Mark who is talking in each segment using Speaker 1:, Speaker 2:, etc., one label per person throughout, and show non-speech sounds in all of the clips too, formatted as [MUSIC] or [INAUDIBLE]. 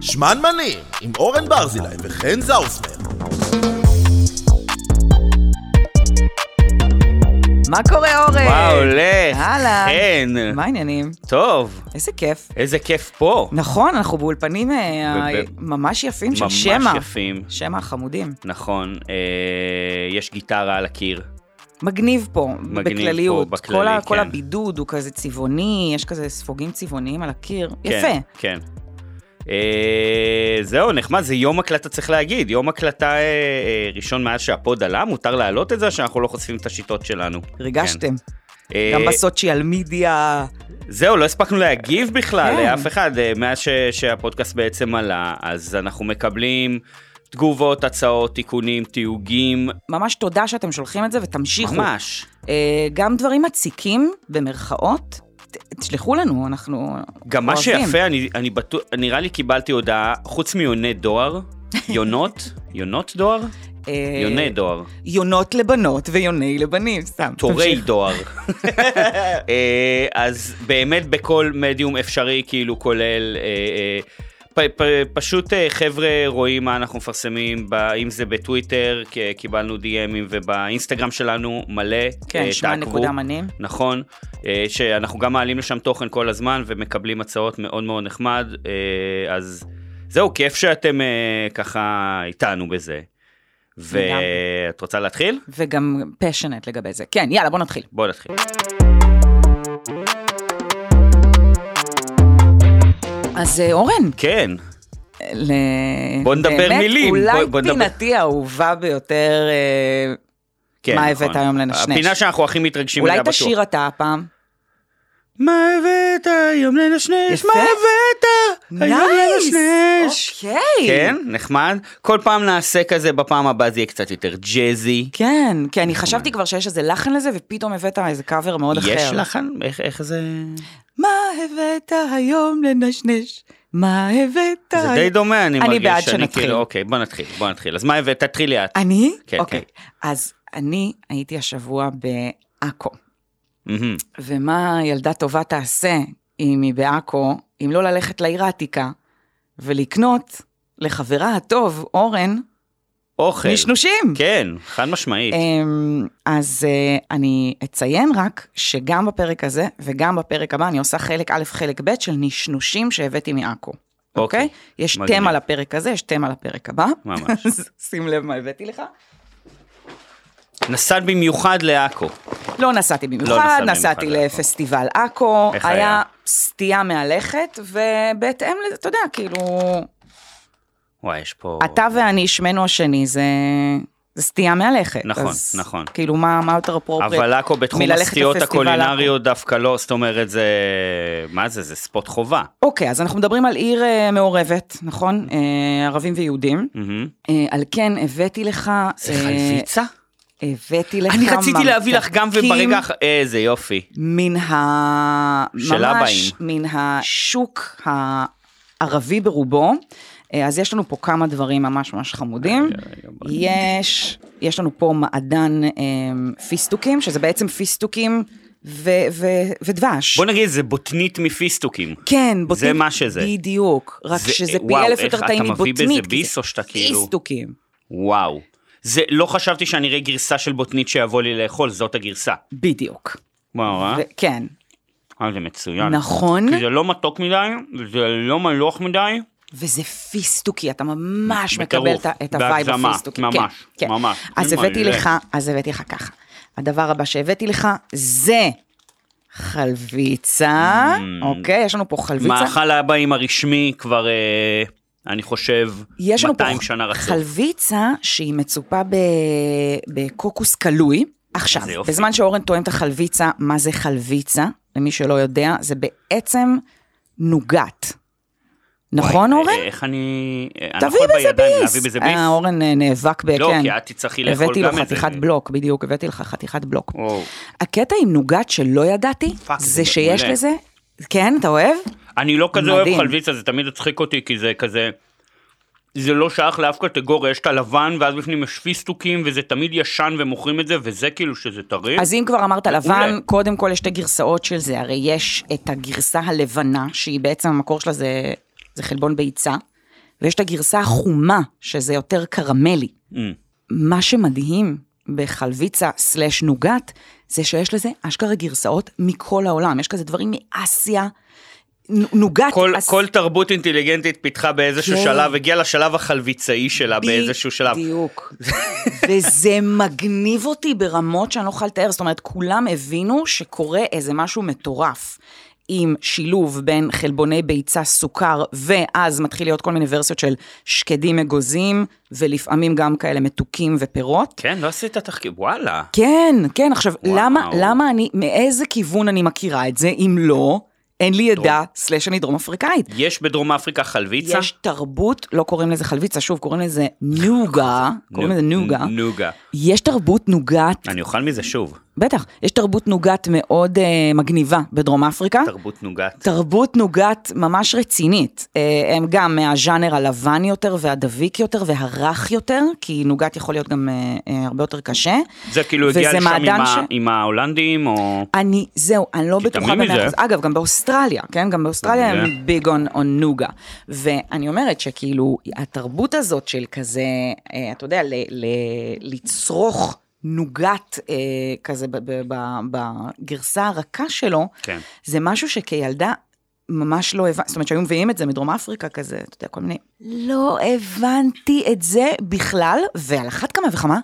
Speaker 1: שמנמנים, עם אורן ברזילי וחן זאוסמן.
Speaker 2: מה קורה, אורן?
Speaker 3: מה הולך?
Speaker 2: אה, הלאה.
Speaker 3: חן.
Speaker 2: מה העניינים?
Speaker 3: טוב,
Speaker 2: איזה כיף.
Speaker 3: איזה כיף פה.
Speaker 2: נכון, אנחנו באולפנים אה,
Speaker 3: ב- ב-
Speaker 2: ממש יפים של
Speaker 3: ממש
Speaker 2: שמע.
Speaker 3: יפים.
Speaker 2: שמע החמודים.
Speaker 3: נכון, אה, יש גיטרה על הקיר.
Speaker 2: מגניב פה,
Speaker 3: מגניב
Speaker 2: בכלליות.
Speaker 3: פה, בכללי,
Speaker 2: כל ה- כל
Speaker 3: כן.
Speaker 2: הבידוד הוא כזה צבעוני, יש כזה ספוגים צבעוניים על הקיר. יפה.
Speaker 3: כן, כן. אה, זהו, נחמד, זה יום הקלטה צריך להגיד. יום הקלטה אה, אה, ראשון מאז שהפוד עלה, מותר להעלות את זה, שאנחנו לא חושפים את השיטות שלנו.
Speaker 2: ריגשתם.
Speaker 3: אה,
Speaker 2: גם בסוציאל מדיה.
Speaker 3: זהו, לא הספקנו להגיב בכלל
Speaker 2: כן.
Speaker 3: לאף אחד אה, מאז ש- שהפודקאסט בעצם עלה, אז אנחנו מקבלים תגובות, הצעות, תיקונים, תיוגים,
Speaker 2: ממש תודה שאתם שולחים את זה ותמשיכו.
Speaker 3: ממש.
Speaker 2: אה, גם דברים מציקים, במרכאות, ת- תשלחו לנו, אנחנו
Speaker 3: גם מה
Speaker 2: אוהבים.
Speaker 3: שיפה, אני, אני בטוח, נראה לי קיבלתי הודעה, חוץ מיוני דואר,
Speaker 2: [LAUGHS]
Speaker 3: יונות, יונות דואר?
Speaker 2: אה,
Speaker 3: יוני דואר,
Speaker 2: יונות לבנות ויוני לבנים, סתם.
Speaker 3: טורי
Speaker 2: תמשיך. [LAUGHS]
Speaker 3: דואר. אה, אז באמת בכל מדיום אפשרי, כאילו כולל... אה, אה, פ, פ, פשוט אה, חבר'ה רואים מה אנחנו מפרסמים, ב, אם זה בטוויטר, כ- קיבלנו DMים ובאינסטגרם שלנו מלא,
Speaker 2: כן,
Speaker 3: אה,
Speaker 2: שמע
Speaker 3: תעקבו.
Speaker 2: נקודה מנים.
Speaker 3: נכון, אה, שאנחנו גם מעלים לשם תוכן כל הזמן ומקבלים הצעות מאוד מאוד נחמד, אה, אז זהו, כיף שאתם אה, ככה איתנו בזה.
Speaker 2: לגמרי.
Speaker 3: ואת רוצה להתחיל?
Speaker 2: וגם פשנט לגבי זה. כן, יאללה, בוא נתחיל.
Speaker 3: בואו נתחיל.
Speaker 2: אז אה, אורן,
Speaker 3: כן,
Speaker 2: ל...
Speaker 3: בוא נדבר
Speaker 2: באמת,
Speaker 3: מילים.
Speaker 2: אולי
Speaker 3: בוא- בוא נדבר-
Speaker 2: פינתי האהובה ביותר, אה,
Speaker 3: כן,
Speaker 2: מה
Speaker 3: נכון.
Speaker 2: הבאת היום לנשנש?
Speaker 3: הפינה שאנחנו הכי מתרגשים
Speaker 2: אולי
Speaker 3: אליה בטוח.
Speaker 2: תשיר אתה הפעם.
Speaker 3: מה הבאת היום לנשנש?
Speaker 2: יפה.
Speaker 3: מה הבאת היום
Speaker 2: נייס!
Speaker 3: לנשנש?
Speaker 2: אוקיי.
Speaker 3: כן, נחמד. כל פעם נעשה כזה, בפעם הבאה זה יהיה קצת יותר ג'אזי.
Speaker 2: כן, כי אני חשבתי כבר שיש איזה לחן לזה, ופתאום הבאת איזה קאבר מאוד אחר.
Speaker 3: יש לחן? איך- איך זה...
Speaker 2: מה הבאת היום לנשנש? מה הבאת
Speaker 3: זה די דומה, אני
Speaker 2: אני
Speaker 3: מרגיש
Speaker 2: בעד
Speaker 3: שאני
Speaker 2: שנתחיל.
Speaker 3: כאילו, אוקיי, בוא נתחיל, בוא נתחיל. אז מה הבאת? תתחילי את.
Speaker 2: אני?
Speaker 3: כן,
Speaker 2: אוקיי. אז אני הייתי השבוע בעכו,
Speaker 3: מהמם.
Speaker 2: ומה ילדה טובה תעשה אם היא בעכו, אם לא ללכת לעיר העתיקה ולקנות לחברה הטוב, אורן,
Speaker 3: אוכל.
Speaker 2: נשנושים.
Speaker 3: כן, חד משמעית.
Speaker 2: אמ, אז אה, אני אציין רק שגם בפרק הזה וגם בפרק הבא אני עושה חלק א', חלק ב' של נשנושים שהבאתי מעכו.
Speaker 3: אוקיי.
Speaker 2: אוקיי? יש
Speaker 3: מגניב.
Speaker 2: תמה לפרק הזה, יש תמה לפרק הבא.
Speaker 3: ממש.
Speaker 2: אז [LAUGHS] שים לב מה הבאתי לך. אה-
Speaker 3: נסעת במיוחד לעכו.
Speaker 2: לא נסעתי במיוחד,
Speaker 3: נסעת
Speaker 2: נסעתי
Speaker 3: במיוחד לא.
Speaker 2: לפסטיבל עכו,
Speaker 3: איך
Speaker 2: היה
Speaker 3: היה?
Speaker 2: סטייה מהלכת, ובהתאם לזה, אתה יודע, כאילו,
Speaker 3: וואי, יש פה...
Speaker 2: אתה ואני, שמנו השני, זה... זה סטייה מהלכת.
Speaker 3: נכון,
Speaker 2: אז
Speaker 3: נכון.
Speaker 2: כאילו, מה, מה יותר אפרופריאט?
Speaker 3: אבל עכו בתחום
Speaker 2: מללכת
Speaker 3: הסטיות
Speaker 2: לפסטיבל
Speaker 3: הקולינריות דווקא לא, זאת אומרת זה... מה זה? זה ספוט חובה.
Speaker 2: אוקיי, אז אנחנו מדברים על עיר אה, מעורבת, נכון? אה, ערבים ויהודים.
Speaker 3: מהמם.
Speaker 2: אה, על כן, הבאתי לך...
Speaker 3: זה
Speaker 2: אה,
Speaker 3: חלביצה?
Speaker 2: הבאתי לך...
Speaker 3: אני רציתי להביא לך גם וברגע...
Speaker 2: ממתקים
Speaker 3: האח- איזה אה, יופי.
Speaker 2: מן ה...
Speaker 3: של
Speaker 2: ממש
Speaker 3: הבאים.
Speaker 2: מן השוק הערבי ברובו. אה, אז יש לנו פה כמה דברים ממש ממש
Speaker 3: אה,
Speaker 2: חמודים. יש, יש לנו פה מעדן אמ, פיסטוקים, שזה בעצם פיסטוקים ו, ו, ודבש.
Speaker 3: בוא נגיד, זה בוטנית מפיסטוקים.
Speaker 2: כן, בוטנית.
Speaker 3: זה מה שזה.
Speaker 2: בדיוק, רק
Speaker 3: זה-
Speaker 2: שזה פי
Speaker 3: וואו,
Speaker 2: אלף
Speaker 3: איך
Speaker 2: יותר
Speaker 3: אתה
Speaker 2: טעים
Speaker 3: מביא
Speaker 2: מבוטנית. כי
Speaker 3: בזה ביס
Speaker 2: זה
Speaker 3: או שאתה כאילו-
Speaker 2: פיסטוקים,
Speaker 3: וואו. זה, לא חשבתי שאני אראה גרסה של בוטנית שיבוא לי לאכול, זאת הגרסה.
Speaker 2: בדיוק.
Speaker 3: וואו, אה?
Speaker 2: ו- כן,
Speaker 3: אה, זה מצוין.
Speaker 2: נכון,
Speaker 3: כי זה לא מתוק מדי, זה לא מלוח מדי.
Speaker 2: וזה פיסטוקי, אתה ממש
Speaker 3: בטירוף,
Speaker 2: מקבל את ה- את הווייב
Speaker 3: בהגזמה,
Speaker 2: הפיסטוקי.
Speaker 3: ממש,
Speaker 2: כן, כן.
Speaker 3: ממש.
Speaker 2: אז
Speaker 3: אימא'לה.
Speaker 2: הבאתי לך, אז הבאתי לך ככה. הדבר הבא שהבאתי לך זה חלביצה,
Speaker 3: Mm.
Speaker 2: אוקיי? יש לנו פה חלביצה.
Speaker 3: מאכל הבאים הרשמי כבר, אה, אני חושב,
Speaker 2: יש לנו פה
Speaker 3: 200 שנה רצוף.
Speaker 2: חלביצה שהיא מצופה ב... בקוקוס קלוי. עכשיו,
Speaker 3: איזה יופי.
Speaker 2: בזמן שאורן טוען את החלביצה, מה זה חלביצה? למי שלא יודע, זה בעצם נוגת. נכון,
Speaker 3: אה,
Speaker 2: אורן?
Speaker 3: אה, איך אני... אה, אני
Speaker 2: תביא
Speaker 3: יכול
Speaker 2: בזה
Speaker 3: בידיים
Speaker 2: ביס.
Speaker 3: להביא בזה ביס?
Speaker 2: אה, אורן אה, נאבק ב...
Speaker 3: לא,
Speaker 2: כן.
Speaker 3: כי את תצטרכי לאכול
Speaker 2: הבאתי לו
Speaker 3: גם את זה.
Speaker 2: חתיכת בלוק, בדיוק, הבאתי לך חתיכת בלוק.
Speaker 3: וואו.
Speaker 2: הקטע עם נוגת שלא ידעתי,
Speaker 3: פאק,
Speaker 2: זה
Speaker 3: זה
Speaker 2: שיש
Speaker 3: מעולה.
Speaker 2: לזה... כן, אתה אוהב?
Speaker 3: אני לא כזה אוהב
Speaker 2: מדהים.
Speaker 3: חלביצה, זה תמיד הצחיק אותי, כי זה כזה... זה לא שייך לאף קטגוריה, יש את הלבן, ואז בפנים יש פיסטוקים, וזה תמיד ישן ומוכרים את זה, וזה כאילו שזה טרי.
Speaker 2: אז אם כבר אמרת לבן,
Speaker 3: מעולה.
Speaker 2: קודם כל יש שתי גרסאות של זה, הרי יש את הגרסה הלבנה, שהיא בעצם המקור שלה זה, זה חלבון ביצה, ויש את הגרסה החומה, שזה יותר קרמלי.
Speaker 3: אמ.
Speaker 2: מה שמדהים בחלביצה סלאש נוגת, זה שיש לזה אשכרה גרסאות מכל העולם. יש כזה דברים מאסיה, נ- נוגת
Speaker 3: כל,
Speaker 2: אס-
Speaker 3: כל תרבות אינטליגנטית פיתחה באיזשהו
Speaker 2: כן.
Speaker 3: שלב, הגיעה לשלב החלביצאי שלה באיזשהו שלב.
Speaker 2: בדיוק. וזה מגניב אותי ברמות שאני לא יכולה לתאר. זאת אומרת, כולם הבינו שקורה איזה משהו מטורף. עם שילוב בין חלבוני ביצה, סוכר, ואז מתחיל להיות כל מיני ורסיות של שקדים אגוזים, ולפעמים גם כאלה מתוקים ופירות.
Speaker 3: כן, לא עשית תחקיר, וואלה.
Speaker 2: כן, כן, עכשיו,
Speaker 3: וואו.
Speaker 2: למה, למה אני, מאיזה כיוון אני מכירה את זה, אם לא, אין לי ידע, סלש אני דרום אפריקאית.
Speaker 3: יש בדרום אפריקה חלביצה?
Speaker 2: כן. יש תרבות, לא קוראים לזה חלביצה, שוב, קוראים לזה
Speaker 3: [LAUGHS]
Speaker 2: נוגה, קוראים לזה נוגה.
Speaker 3: נ- נוגה.
Speaker 2: יש תרבות נוגת,
Speaker 3: אני אוכל מזה שוב.
Speaker 2: בטח, יש תרבות נוגת מאוד אה, מגניבה בדרום אפריקה.
Speaker 3: תרבות נוגת.
Speaker 2: תרבות נוגת ממש רצינית. אה, הם גם מהז'אנר הלבן יותר והדביק יותר והרך יותר, כי נוגת יכול להיות גם אה, אה, הרבה יותר קשה.
Speaker 3: זה כאילו
Speaker 2: וזה
Speaker 3: הגיע לשם עם,
Speaker 2: מעדן
Speaker 3: ה...
Speaker 2: ש-
Speaker 3: עם ההולנדים, או...
Speaker 2: אני, זהו, אני לא
Speaker 3: כי
Speaker 2: בטוחה
Speaker 3: תמים מזה.
Speaker 2: במאה אחוז. אגב, גם באוסטרליה, כן? גם באוסטרליה
Speaker 3: אתה
Speaker 2: הם
Speaker 3: מבין?
Speaker 2: ביג און און נוגה. ואני אומרת שכאילו, התרבות הזאת של כזה, אה, אתה יודע, ל- ל- לצרוך נוגת אה, כזה ב- ב- ב- בגרסה הרכה שלו,
Speaker 3: כן.
Speaker 2: זה משהו שכילדה... ממש לא הבנתי, זאת אומרת שהיו מביאים את זה מדרום אפריקה כזה, אתה יודע, כל מיני... לא הבנתי את זה בכלל, ועל אחת כמה וכמה,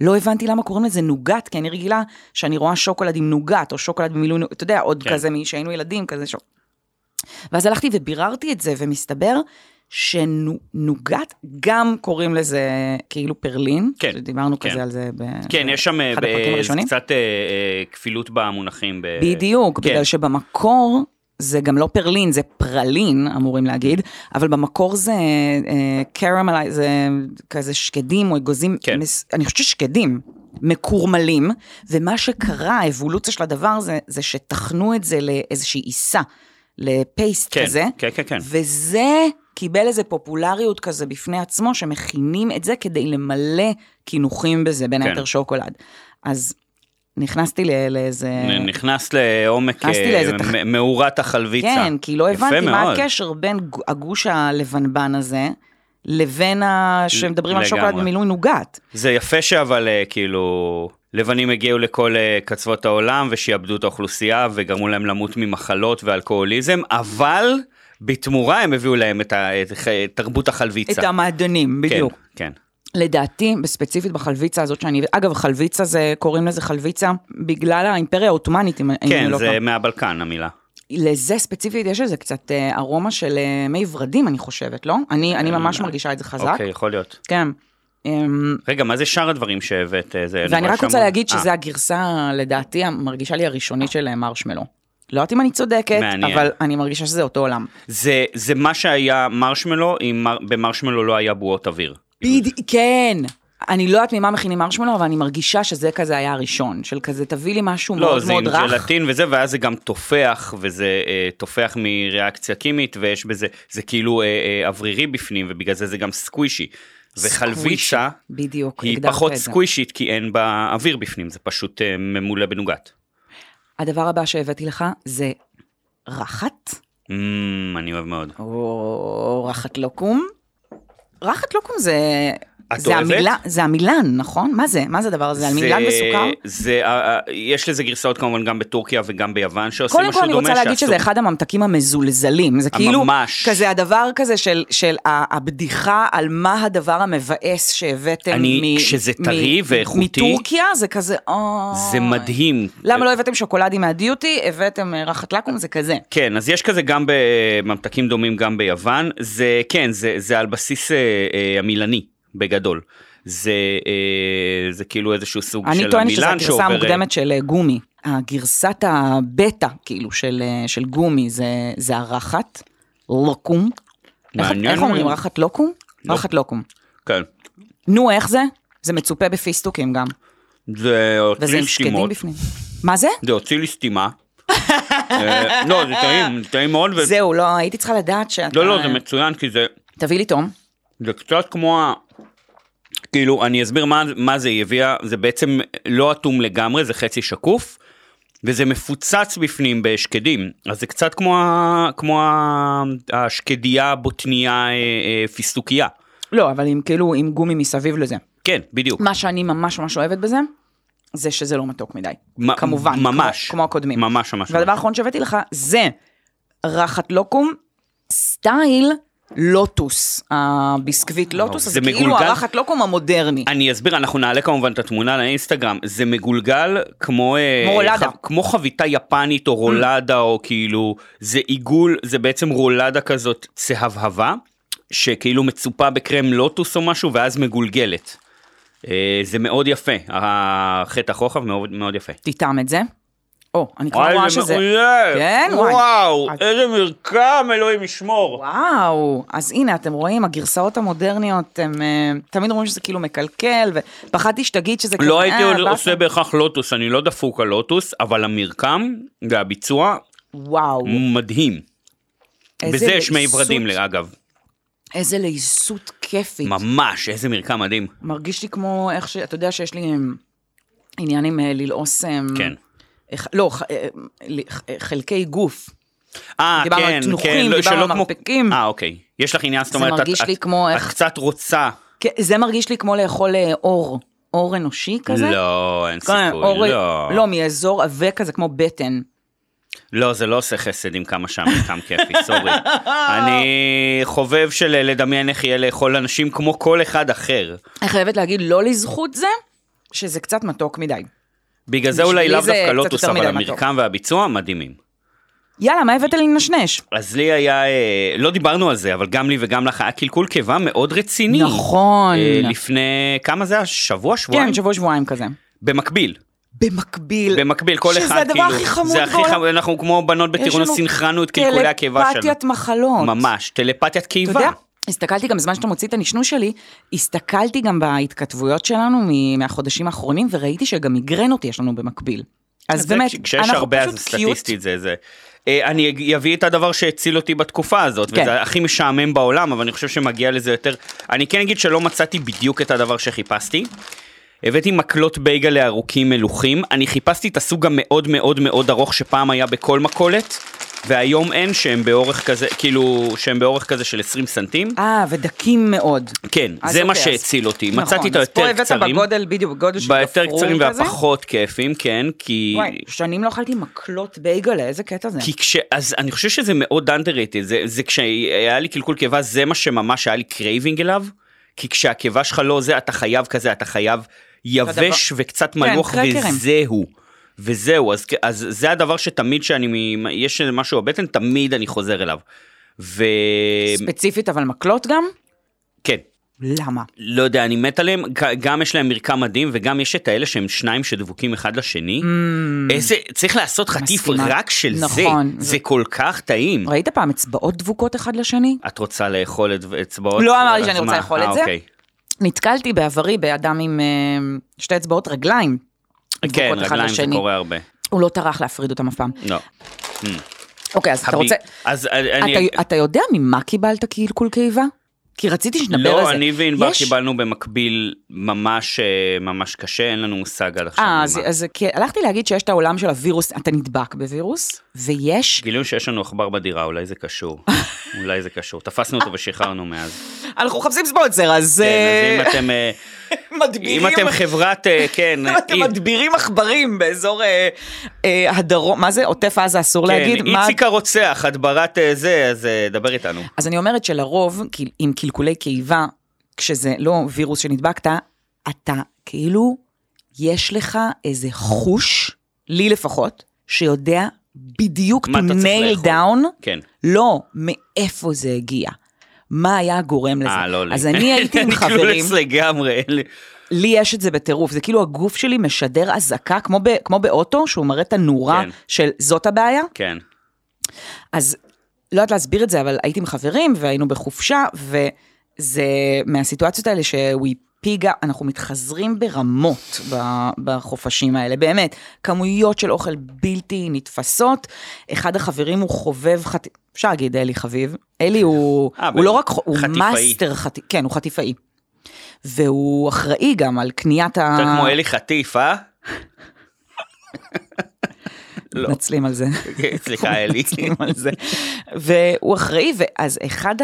Speaker 2: לא הבנתי למה קוראים לזה נוגת, כי אני רגילה שאני רואה שוקולד עם נוגת, או שוקולד במילוי, אתה יודע, עוד
Speaker 3: כן.
Speaker 2: כן. כזה משהיינו ילדים, כזה שוק. ואז הלכתי וביררתי את זה, ומסתבר שנוגת, גם קוראים לזה כאילו פרלין.
Speaker 3: כן,
Speaker 2: דיברנו
Speaker 3: כן.
Speaker 2: כזה על זה ב-
Speaker 3: כן, יש שם אה,
Speaker 2: אחד
Speaker 3: ב-
Speaker 2: הפרקים
Speaker 3: אה,
Speaker 2: הראשונים.
Speaker 3: קצת אה, אה, כפילות במונחים. ב...
Speaker 2: בדיוק,
Speaker 3: כן.
Speaker 2: כן. בגלל שבמקור זה גם לא פרלין, זה פרלין, אמורים להגיד, אבל במקור זה אה, קרמלי, זה כזה שקדים או אגוזים,
Speaker 3: כן.
Speaker 2: מס, אני חושבת ששקדים. מקורמלים, ומה שקרה, האבולוציה של הדבר הזה, זה שתחנו את זה לאיזושהי עיסה, לפייסט
Speaker 3: כן,
Speaker 2: כזה,
Speaker 3: כן, כן, כן.
Speaker 2: וזה קיבל איזה פופולריות כזה בפני עצמו, שמכינים את זה כדי למלא קינוחים בזה, בין
Speaker 3: כן.
Speaker 2: היתר שוקולד. אז נכנסתי לא- לאיזה...
Speaker 3: נ- נכנס לעומק
Speaker 2: נכנסתי
Speaker 3: אה,
Speaker 2: לאיזה תח-
Speaker 3: מ- מאורת החלביצה.
Speaker 2: כן, כי לא
Speaker 3: יפה
Speaker 2: הבנתי מה
Speaker 3: מאוד.
Speaker 2: הקשר בין ג- הגוש הלבנבן הזה, לבין ה... שמדברים על שוקולד
Speaker 3: לגמרי.
Speaker 2: במילוי נוגת.
Speaker 3: זה יפה שאבל אה, כאילו לבנים הגיעו לכל אה, קצוות העולם ושיעבדו את האוכלוסייה וגרמו להם למות ממחלות ואלכוהוליזם, אבל בתמורה הם הביאו להם את, ה, את, ח- את תרבות
Speaker 2: את
Speaker 3: החלביצה.
Speaker 2: המעדנים, בדיוק.
Speaker 3: כן, כן.
Speaker 2: לדעתי, בספציפית בחלביצה הזאת שאני... אגב, חלביצה זה, קוראים לזה חלביצה בגלל האימפריה העות'מאנית, אם אם אני
Speaker 3: כן,
Speaker 2: לא
Speaker 3: זה
Speaker 2: טועה.
Speaker 3: מהבלקן המילה.
Speaker 2: לזה ספציפית יש איזה קצת אה, ארומה של אה, מי ורדים, אני חושבת, לא? אני אני ממש מרגישה את זה חזק.
Speaker 3: אה, אוקיי, יכול להיות.
Speaker 2: כן. אמ,
Speaker 3: רגע, מה זה שאר הדברים שהבאת? אה, זה- אני
Speaker 2: ואני
Speaker 3: רואה
Speaker 2: רק
Speaker 3: שם-
Speaker 2: רוצה להגיד שזה
Speaker 3: אה,
Speaker 2: הגרסה, לדעתי, המרגישה לי הראשונית של מרשמלו. לא יודעת אם אני צודקת,
Speaker 3: מעניין.
Speaker 2: אבל אני מרגישה שזה אותו עולם.
Speaker 3: זה, זה מה שהיה מרשמלו, אם מר, במרשמלו לא היה בועות אוויר.
Speaker 2: בד... כן. אני לא יודעת ממה מכינים מרשמלו, אבל אני מרגישה שזה כזה היה הראשון, של כזה תביא לי משהו
Speaker 3: לא,
Speaker 2: מאוד
Speaker 3: זה עם
Speaker 2: מאוד רך.
Speaker 3: גלטין וזה, ואז זה גם תופח, וזה אה, תופח מריאקציה כימית, ויש בזה, זה כאילו אה, אה, אוורירי בפנים, ובגלל זה זה גם סקווישי. וחלביצה
Speaker 2: סקווישי, בדיוק,
Speaker 3: היא
Speaker 2: הגדרת
Speaker 3: פחות
Speaker 2: את זה.
Speaker 3: סקווישית, כי אין בה אוויר בפנים, זה פשוט אה, ממולא בנוגת.
Speaker 2: הדבר הבא שהבאתי לך זה רחת,
Speaker 3: אמ, אני אוהב מאוד.
Speaker 2: או רחת לוקום. רחת לוקום זה...
Speaker 3: את
Speaker 2: זה
Speaker 3: אוהבת?
Speaker 2: המילה, זה המילן, נכון? מה זה? מה זה הדבר הזה? על מילן וסוכר?
Speaker 3: זה, אה, אה, יש לזה גרסאות כמובן גם בטורקיה וגם ביוון שעושים
Speaker 2: קודם
Speaker 3: משהו
Speaker 2: כל אני
Speaker 3: דומה.
Speaker 2: רוצה להגיד
Speaker 3: שעשו-
Speaker 2: שזה אחד הממתקים המזולזלים, זה כאילו
Speaker 3: ממש.
Speaker 2: כזה הדבר כזה של, של ה- הבדיחה על מה הדבר המבאס שהבאתם
Speaker 3: אני-
Speaker 2: מ-
Speaker 3: שזה
Speaker 2: מ-
Speaker 3: טרי ואיכותי.
Speaker 2: מטורקיה, זה כזה, אוי.
Speaker 3: זה מדהים.
Speaker 2: למה לא הבאתם שוקולדים מהדיוטי, הבאתם אה, רחת לקום, זה כזה.
Speaker 3: כן, אז יש כזה גם בממתקים דומים גם ביוון. זה, כן, זה, זה על בסיס אה, אה, המילני, בגדול. זה, אה, זה כאילו איזשהו סוג של המילן
Speaker 2: אני
Speaker 3: שעובר...
Speaker 2: טוענת שזו הגרסה
Speaker 3: אה,
Speaker 2: המוקדמת של אה, גומי. הגרסת הבטא, כאילו, של, אה, של גומי, זה, זה הרחת, לוקום. איך,
Speaker 3: מעניין.
Speaker 2: איך אומרים, רחת לוקום?
Speaker 3: לא.
Speaker 2: רחת לוקום.
Speaker 3: כן.
Speaker 2: נו, איך זה? זה מצופה בפיסטוקים גם.
Speaker 3: זה
Speaker 2: וזה
Speaker 3: הוציא לי
Speaker 2: עם שקדים
Speaker 3: סתימות.
Speaker 2: בפנים. מה זה?
Speaker 3: זה הוציא לי סתימה. [LAUGHS] אה, לא, זה טעים, זה טעים מאוד. ו-
Speaker 2: זהו, לא, הייתי צריכה לדעת שאתה...
Speaker 3: לא, לא, זה מצוין, כי זה...
Speaker 2: תביא לי תום.
Speaker 3: זה קצת כמו ה... כאילו, אני אסביר מה, מה זה היא הביאה, זה בעצם לא אטום לגמרי, זה חצי שקוף, וזה מפוצץ בפנים בשקדים, אז זה קצת כמו, ה- כמו ה- השקדייה בוטניה אה, אה, פיסטוקיה.
Speaker 2: לא, אבל עם כאילו, עם גומי מסביב לזה.
Speaker 3: כן, בדיוק.
Speaker 2: מה שאני ממש ממש אוהבת בזה, זה שזה לא מתוק מדי.
Speaker 3: מ-
Speaker 2: כמובן, כמו-
Speaker 3: ממש.
Speaker 2: כמו הקודמים.
Speaker 3: ממש ממש.
Speaker 2: והדבר האחרון שהבאתי לך זה רחת לוקום, סטייל לוטוס. הביסקוויט לוטוס,
Speaker 3: זה
Speaker 2: אז זה כאילו
Speaker 3: מגולגל?
Speaker 2: הרחת לוקום המודרני.
Speaker 3: אני אסביר, אנחנו נעלה כמובן את התמונה לאינסטגרם, זה מגולגל כמו... אה,
Speaker 2: כמו רולדה.
Speaker 3: כמו חביתה יפנית או רולדה, או כאילו, זה עיגול, זה בעצם רולדה כזאת צהבהבה, שכאילו מצופה בקרם לוטוס או משהו, ואז מגולגלת. אה, זה מאוד יפה, החטא החוכב מאוד מאוד יפה.
Speaker 2: תטעם את זה. או, אני כבר רואה שזה...
Speaker 3: מעולה!
Speaker 2: כן, וואי.
Speaker 3: וואו,
Speaker 2: אז-
Speaker 3: איזה מרקם, אלוהים ישמור.
Speaker 2: וואו, אז הנה, אתם רואים, הגרסאות המודרניות, הם אה, תמיד אומרים שזה כאילו מקלקל, ופחדתי שתגיד שזה
Speaker 3: לא הייתי
Speaker 2: אה, באסה.
Speaker 3: עושה בהכרח לוטוס, אני לא דפוק על לוטוס, אבל המרקם והביצוע
Speaker 2: וואו,
Speaker 3: מדהים.
Speaker 2: איזה
Speaker 3: בזה יש מי
Speaker 2: לעיסות.
Speaker 3: ורדים, אה. אגב.
Speaker 2: איזה לעיסות כיפית.
Speaker 3: ממש, איזה מרקם מדהים.
Speaker 2: מרגיש לי כמו איך ש... אתה יודע שיש לי אמ, עניין עם אה, ללעוס... אמ,
Speaker 3: כן.
Speaker 2: אה, ח- לא, ח- אה, ל- ח- אה, חלקי גוף.
Speaker 3: אה,
Speaker 2: דיברנו על
Speaker 3: כן,
Speaker 2: תנוחים,
Speaker 3: כן, לא,
Speaker 2: דיברנו
Speaker 3: שלא
Speaker 2: על
Speaker 3: כמו-
Speaker 2: מרפקים.
Speaker 3: אה, אוקיי. יש לך עניין, זאת
Speaker 2: זה
Speaker 3: אומרת, את-
Speaker 2: מרגיש לי
Speaker 3: את-
Speaker 2: כמו
Speaker 3: את
Speaker 2: איך-
Speaker 3: קצת רוצה.
Speaker 2: כן, זה מרגיש לי כמו לאכול אה, אור, אור אנושי כזה.
Speaker 3: לא, אין
Speaker 2: כל מיני
Speaker 3: סיכוי, לא.
Speaker 2: לא, מאזור עבה כזה, כמו בטן.
Speaker 3: לא, זה לא עושה חסד עם כמה שהמרקם כיפי,
Speaker 2: [LAUGHS]
Speaker 3: סורי. אני חובב של אה, לדמיין איך יהיה לאכול אנשים כמו כל אחד אחר.
Speaker 2: אני חייבת להגיד, לא לזכות זה, שזה קצת מתוק מדי.
Speaker 3: בגלל זה
Speaker 2: בשבילי
Speaker 3: אולי לאו
Speaker 2: זה
Speaker 3: דווקא
Speaker 2: קצת
Speaker 3: לוטוס,
Speaker 2: יותר
Speaker 3: אבל
Speaker 2: מדי
Speaker 3: המרקם והביצוע מדהימים.
Speaker 2: יאללה, מה הבאת לי לנשנש?
Speaker 3: אז לי היה, אה, לא דיברנו על זה, אבל גם לי וגם לך היה קלקול קיבה מאוד רציני.
Speaker 2: נכון.
Speaker 3: אה, לפני, כמה זה היה? שבוע? שבועיים?
Speaker 2: כן, שבוע שבועיים כזה.
Speaker 3: במקביל.
Speaker 2: במקביל.
Speaker 3: במקביל, כל
Speaker 2: שזה
Speaker 3: אחד,
Speaker 2: הדבר
Speaker 3: כאילו,
Speaker 2: הכי חמוד
Speaker 3: זה הכי
Speaker 2: בעולם.
Speaker 3: חמוד, כאילו, אנחנו כמו בנות
Speaker 2: יש
Speaker 3: בטירונות,
Speaker 2: לנו
Speaker 3: סינכרנו את קלקולי הקיבה שלנו.
Speaker 2: טלפתיית מחלות.
Speaker 3: ממש, טלפתיית
Speaker 2: אתה
Speaker 3: קיבה.
Speaker 2: יודע, הסתכלתי גם בזמן שאתה מוציא את הנשנוש שלי, הסתכלתי גם בהתכתבויות שלנו מ- מהחודשים האחרונים, וראיתי שגם מיגרנות יש לנו במקביל. אז
Speaker 3: זה
Speaker 2: באמת,
Speaker 3: כש- כשיש
Speaker 2: אנחנו
Speaker 3: הרבה אז
Speaker 2: פשוט קיוט.
Speaker 3: סטטיסטית זה זה. אה, אני אג- אביא את הדבר שהציל אותי בתקופה הזאת,
Speaker 2: כן.
Speaker 3: וזה הכי משעמם בעולם, אבל אני חושב שמגיע לזה יותר. אני כן אגיד שלא מצאתי בדיוק את הדבר שחיפשתי. הבאתי מקלות בייגלה לארוכים מלוכים, אני חיפשתי את הסוג המאוד מאוד מאוד ארוך שפעם היה בכל מכולת, והיום אין שהם באורך כזה, כאילו, שהם באורך כזה של 20 סנטים.
Speaker 2: אה, ודקים מאוד.
Speaker 3: כן,
Speaker 2: אז
Speaker 3: זה מה
Speaker 2: אוקיי, אז-
Speaker 3: שהציל אותי,
Speaker 2: נכון,
Speaker 3: מצאתי את
Speaker 2: אז
Speaker 3: היותר
Speaker 2: פה הבאת
Speaker 3: קצרים,
Speaker 2: בגודל, בדיוק, גודל של גפרור כזה.
Speaker 3: ביותר קצרים והפחות כיפים, כן, כי...
Speaker 2: וואי, שנים לא אכלתי מקלות בייגלה, איזה קטע זה.
Speaker 3: כי כש... אז אני חושב שזה מאוד underrated, זה, זה כשהיה לי קלקול קיבה, זה מה שממש היה לי קרייבינג אליו, כי כשהקיבה שלך לא זה, אתה חייב כזה, אתה חייב יבש וקצת מלוח
Speaker 2: כן, קרקרים.
Speaker 3: וזהו. וזהו, אז, אז זה הדבר שתמיד שאני, מ- יש איזה משהו בבטן, תמיד אני חוזר אליו. וכן,
Speaker 2: אמ, ספציפית, אבל מקלות גם? למה?
Speaker 3: כן, לא יודע, אני מת עליהם, ג- גם יש להם מרקם מדהים, וגם יש את האלה שהם שניים שדבוקים אחד לשני. איזה, צריך לעשות חטיף
Speaker 2: Mm. מסכימה.
Speaker 3: רק של זה,
Speaker 2: נכון.
Speaker 3: זה כל כך טעים.
Speaker 2: ראית פעם אצבעות דבוקות אחד לשני?
Speaker 3: את רוצה לאכול את אצבעות?
Speaker 2: לא אמרתי שאני
Speaker 3: אז
Speaker 2: רוצה
Speaker 3: מה?
Speaker 2: לאכול
Speaker 3: אה,
Speaker 2: את זה.
Speaker 3: אוקיי.
Speaker 2: נתקלתי בעברי באדם עם אה, שתי אצבעות רגליים.
Speaker 3: כן,
Speaker 2: דבוקות אחד
Speaker 3: רגליים זה
Speaker 2: לשני.
Speaker 3: קורה הרבה.
Speaker 2: הוא לא טרח להפריד אותם אף פעם.
Speaker 3: לא.
Speaker 2: אוקיי, אז אתה
Speaker 3: חבי-
Speaker 2: רוצה...
Speaker 3: אז אני...
Speaker 2: אתה- אתה יודע ממה קיבלת קלקול קיבה? כי רציתי שנדבר על זה.
Speaker 3: לא, אני וענבר
Speaker 2: יש-
Speaker 3: קיבלנו במקביל ממש אה, ממש קשה, אין לנו מושג עד עכשיו.
Speaker 2: אה,
Speaker 3: ממה.
Speaker 2: אז- אז כי הלכתי להגיד שיש את העולם של הווירוס, אתה נדבק בווירוס, ויש...
Speaker 3: גילינו שיש לנו עכבר בדירה, אולי זה
Speaker 2: [LAUGHS]
Speaker 3: קשור. אולי זה קשור. תפסנו אותו ושחררנו מאז.
Speaker 2: אנחנו מחפשים ספונסר, אז...
Speaker 3: כן,
Speaker 2: אה,
Speaker 3: אז אם אתם... אה,
Speaker 2: [LAUGHS] מדבירים.
Speaker 3: אם אתם חברת... אה, כן.
Speaker 2: אם אתם
Speaker 3: אי-
Speaker 2: מדבירים עכברים באזור אה, אה, הדרום, מה זה? עוטף עזה אסור
Speaker 3: כן,
Speaker 2: להגיד. מה-
Speaker 3: איציק הרוצח, הדברת אה, זה, אז אה, דבר איתנו.
Speaker 2: אז אני אומרת שלרוב, כי- עם קלקולי קיבה, כשזה לא וירוס שנדבקת, אתה כאילו, יש לך איזה חוש, לי לפחות, שיודע בדיוק to
Speaker 3: מה אתה צריך
Speaker 2: nail
Speaker 3: לאכול.
Speaker 2: down,
Speaker 3: כן.
Speaker 2: לא מאיפה זה הגיע. מה היה הגורם לזה?
Speaker 3: אה, לא לי.
Speaker 2: אז אני הייתי עם
Speaker 3: [LAUGHS] אני כאילו
Speaker 2: חברים,
Speaker 3: קלולס לגמרי. אין לי-
Speaker 2: לי יש את זה בטירוף, זה כאילו הגוף שלי משדר אזעקה, כמו, ב- כמו באוטו, שהוא מראה את הנורה
Speaker 3: כן.
Speaker 2: של זאת הבעיה.
Speaker 3: כן.
Speaker 2: אז לא יודעת להסביר את זה, אבל הייתי עם חברים והיינו בחופשה, וזה מהסיטואציות האלה שווי פיגה, אנחנו מתחזרים ברמות ב- בחופשים האלה, באמת, כמויות של אוכל בלתי נתפסות. אחד החברים הוא חובב חטיף, אפשר להגיד אלי חביב, אלי הוא,
Speaker 3: אה,
Speaker 2: הוא לא
Speaker 3: באמת?
Speaker 2: רק, חו- הוא
Speaker 3: חטיפאי.
Speaker 2: מאסטר חטיף, כן, הוא חטיפאי. והוא אה. אחראי גם על קניית ה...
Speaker 3: קצת כמו אלי חטיף, אה? לא.
Speaker 2: מתנצלים על זה.
Speaker 3: כן,
Speaker 2: [LAUGHS]
Speaker 3: סליחה, אלי.
Speaker 2: מתנצלים על זה. והוא אחראי, ואז אחד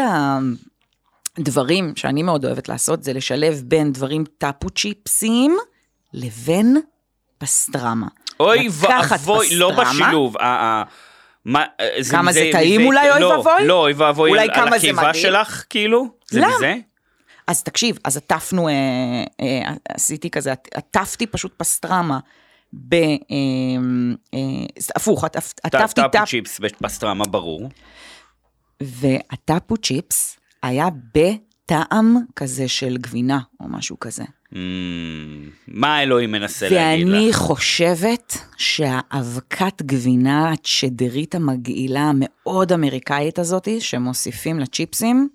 Speaker 2: הדברים שאני מאוד אוהבת לעשות זה לשלב בין דברים טאפו צ'יפסים לבין פסטרמה.
Speaker 3: אוי
Speaker 2: לקחת
Speaker 3: ואבוי, לא
Speaker 2: פסטרמה.
Speaker 3: בשילוב. אה, אה. מה, אה,
Speaker 2: כמה
Speaker 3: מזה-
Speaker 2: זה טעים
Speaker 3: מזה-
Speaker 2: אולי, אוי
Speaker 3: לא,
Speaker 2: ואבוי?
Speaker 3: לא, אוי ואבוי,
Speaker 2: אולי
Speaker 3: על- על
Speaker 2: כמה זה
Speaker 3: הקיבה
Speaker 2: מדהים? לא,
Speaker 3: שלך, כאילו? זה
Speaker 2: למה?
Speaker 3: מזה?
Speaker 2: אז תקשיב, אז עטפנו, אה, אה, עשיתי כזה, עטפתי פשוט פסטרמה. ב... אה, אה, הפוך, עטפ- עטפתי
Speaker 3: טאפו
Speaker 2: טאפ,
Speaker 3: צ'יפס ופסטרמה, ברור.
Speaker 2: והטאפו צ'יפס היה בטעם כזה של גבינה או משהו כזה.
Speaker 3: Mm, מה האלוהים מנסה להגיד
Speaker 2: ואני
Speaker 3: לך?
Speaker 2: חושבת שהאבקת גבינה הצ'דרית המגעילה המאוד אמריקאית הזאתי, שמוסיפים לצ'יפסים,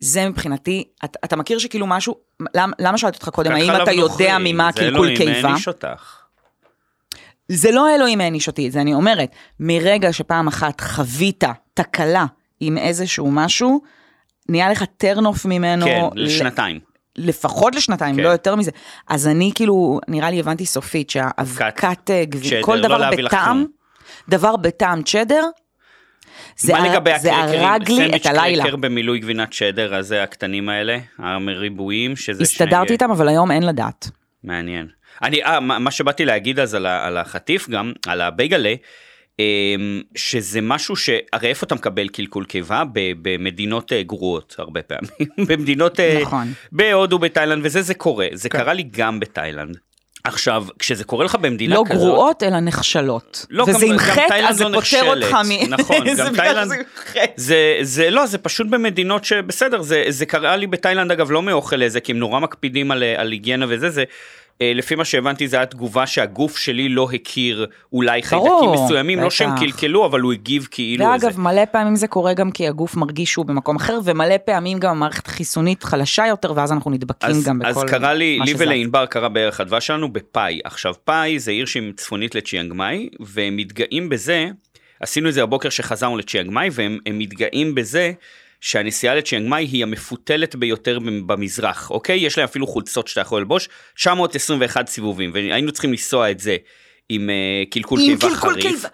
Speaker 2: זה מבחינתי, אתה, אתה מכיר שכאילו משהו, למה, למה שאלתי אותך קודם,
Speaker 3: ככה
Speaker 2: האם
Speaker 3: לא
Speaker 2: אתה יודע
Speaker 3: בנוכרי,
Speaker 2: ממה
Speaker 3: זה
Speaker 2: קלקול
Speaker 3: אלוהים
Speaker 2: קיבה?
Speaker 3: העניש אותך.
Speaker 2: זה לא האלוהים העניש אותי, את זה אני אומרת. מרגע שפעם אחת חווית תקלה עם איזשהו משהו, נהיה לך טרנוף ממנו.
Speaker 3: כן,
Speaker 2: ל-
Speaker 3: לשנתיים.
Speaker 2: לפחות לשנתיים,
Speaker 3: כן.
Speaker 2: לא יותר מזה. אז אני כאילו, נראה לי הבנתי סופית שהאבקת אה,
Speaker 3: צ'דר,
Speaker 2: גבינה, כל
Speaker 3: לא
Speaker 2: דבר
Speaker 3: להביא לך
Speaker 2: בטעם,
Speaker 3: כלום.
Speaker 2: דבר בטעם צ'דר, זה
Speaker 3: מה
Speaker 2: ה-
Speaker 3: לגבי
Speaker 2: זה
Speaker 3: הקרקרים?
Speaker 2: הרג לי את
Speaker 3: סנדוויץ'
Speaker 2: הלילה.
Speaker 3: קרקר במילוי גבינת שדר, אז זה הקטנים האלה, הריבועים, שזה שני...
Speaker 2: הסתדרתי איתם, אבל היום אין לדעת.
Speaker 3: מעניין. אני, אה, מה מה שבאתי להגיד אז על ה- על החטיף גם, על הבייגלה, אמ, שזה משהו שהרי איפה אתה מקבל קלקול קיבה? ב- במדינות אה, גרועות הרבה פעמים. [LAUGHS] במדינות... אה,
Speaker 2: נכון. כן.
Speaker 3: בהודו, בתאילנד, וזה זה קורה. זה קרה לי גם בתאילנד. עכשיו, כשזה קורה לך במדינה
Speaker 2: לא
Speaker 3: כזאת...
Speaker 2: גרועות, אלא נחשלות.
Speaker 3: לא,
Speaker 2: וזה
Speaker 3: גם-
Speaker 2: עם
Speaker 3: גם
Speaker 2: חטא,
Speaker 3: תאילנד
Speaker 2: אז זה
Speaker 3: לא
Speaker 2: פוטר
Speaker 3: נחשלת.
Speaker 2: אותך מ...
Speaker 3: נכון,
Speaker 2: [LAUGHS] זה
Speaker 3: גם
Speaker 2: בגלל
Speaker 3: תאילנד-
Speaker 2: שזה עם חטא.
Speaker 3: [LAUGHS] זה, זה לא, זה פשוט במדינות שבסדר, זה, זה קרה לי בתאילנד אגב לא מאוכל לזה, כי הם נורא מקפידים על, אה, על היגיינה וזה, זה, אה, לפי מה שהבנתי זה היה תגובה שהגוף שלי לא הכיר אולי חיידקים
Speaker 2: ברור,
Speaker 3: מסוימים, לא
Speaker 2: בטח.
Speaker 3: שהם קלקלו, אבל הוא הגיב כאילו איזה.
Speaker 2: ואגב, מלא פעמים זה קורה גם כי הגוף מרגיש שהוא במקום אחר, ומלא פעמים גם המערכת החיסונית חלשה יותר, ואז אנחנו נדבקים
Speaker 3: אז,
Speaker 2: גם בכל...
Speaker 3: אז קרה לי,
Speaker 2: מה
Speaker 3: לי
Speaker 2: שזה.
Speaker 3: ולענבר קרה בערך הדבש שלנו בפאי. עכשיו פאי זה עיר שהיא צפונית לצ'יאנג מאי, והם מתגאים בזה, עשינו את זה הבוקר שחזרנו לצ'יאנג מאי, והם הם מתגאים בזה שהנסיעה לצ'יאנג מאי היא המפותלת ביותר במ- במזרח, אוקיי? יש להם אפילו חולצות שאתה יכול ללבוש, 921 סיבובים, והיינו צריכים לנסוע את זה עם uh, קלקול
Speaker 2: עם
Speaker 3: קיבה
Speaker 2: קלקול
Speaker 3: חריף.
Speaker 2: קיבה.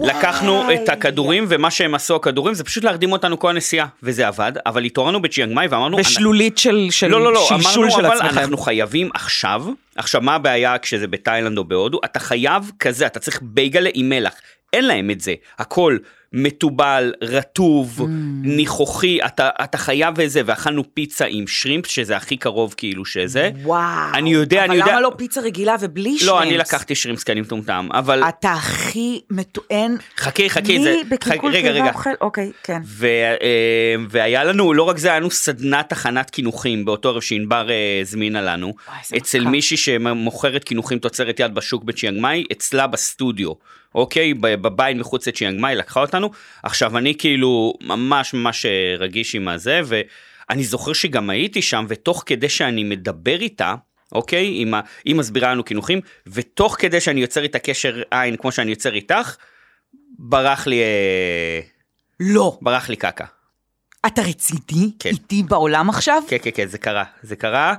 Speaker 3: לקחנו את הכדורים, ומה שהם עשו הכדורים זה פשוט להרדים אותנו כל הנסיעה, וזה עבד, אבל התעוררנו בצ'יאנג מאי ואמרנו...
Speaker 2: בשלולית של, של
Speaker 3: לא, לא, לא,
Speaker 2: שלשול
Speaker 3: אמרנו,
Speaker 2: של
Speaker 3: אבל
Speaker 2: עצמכם.
Speaker 3: אנחנו חייבים עכשיו, עכשיו מה הבעיה כשזה בתאילנד או בהודו? אתה חייב כזה, אתה צריך בייגלה עם מלח, אין להם את זה, הכל מתובל,
Speaker 2: Mm.
Speaker 3: רטוב, ניחוחי, אתה, אתה חייב את זה, ואכלנו פיצה עם שרימפ, שזה הכי קרוב כאילו שזה.
Speaker 2: וואו.
Speaker 3: אני יודע, אני
Speaker 2: אבל
Speaker 3: יודע-
Speaker 2: למה לא פיצה רגילה ובלי שרימפס?
Speaker 3: לא, אני לקחתי שרימפס כי אני מטומטם, אבל
Speaker 2: אתה הכי מטוען.
Speaker 3: חכי, חכי,
Speaker 2: לי
Speaker 3: זה... חכי,
Speaker 2: בקלקול
Speaker 3: רגע,
Speaker 2: קיבה
Speaker 3: רגע.
Speaker 2: אוכל, אוקיי, כן.
Speaker 3: ו, אה, והיה לנו, לא רק זה, היה לנו סדנת הכנת קינוחים באותו ערב שענבר אה, הזמינה לנו,
Speaker 2: וואי, איזה
Speaker 3: אצל
Speaker 2: מכה.
Speaker 3: מישהי שמוכרת קינוחים תוצרת יד בשוק בצ'יאנג מאי, אצלה בסטודיו, אוקיי? ב- בבית מחוץ לצ'יאנג מאי, לקחה אותנו. עכשיו, אני כאילו ממש ממש אה, רגיש עם הזה, ואני זוכר שגם הייתי שם, ותוך כדי שאני מדבר איתה, אוקיי? עם ה- היא מסבירה לנו קינוחים, ותוך כדי שאני יוצר איתה קשר עין כמו שאני יוצר איתך, ברח לי, אה,
Speaker 2: לא.
Speaker 3: ברח לי קקה.
Speaker 2: אתה רציני?
Speaker 3: כן.
Speaker 2: איתי בעולם עכשיו?
Speaker 3: כן, כן, כן, זה קרה, זה קרה,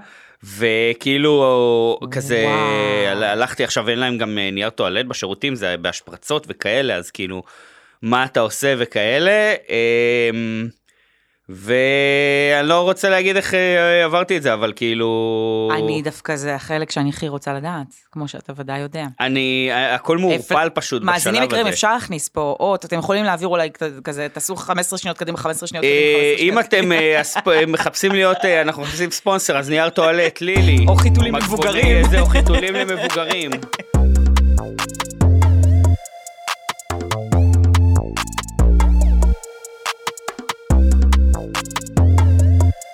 Speaker 3: וכאילו כזה,
Speaker 2: וואו.
Speaker 3: הלכתי עכשיו, אין להם גם אה, נייר טואלט בשירותים, זה בהשפרצות וכאלה, אז כאילו, מה אתה עושה וכאלה, אמ, ואני לא רוצה להגיד איך אה, עברתי את זה, אבל כאילו...
Speaker 2: אני דווקא זה החלק שאני הכי רוצה לדעת, כמו שאתה ודאי יודע.
Speaker 3: אני, הכל מעורפל פשוט בשלב הזה.
Speaker 2: מאזינים יקרים, אפשר להכניס פה אות, אתם יכולים להעביר אולי כת- כזה, תעשו 15 שניות קדימה, 15 שניות קדימה,
Speaker 3: אה,
Speaker 2: 15 שניות
Speaker 3: אם אתם אה, הספ- מחפשים להיות, אה, אנחנו מחפשים ספונסר, אז נייר
Speaker 2: [LAUGHS]
Speaker 3: טואלט, לילי.
Speaker 2: או חיתולים
Speaker 3: מצפוני,
Speaker 2: למבוגרים.
Speaker 3: זה, או חיתולים למבוגרים.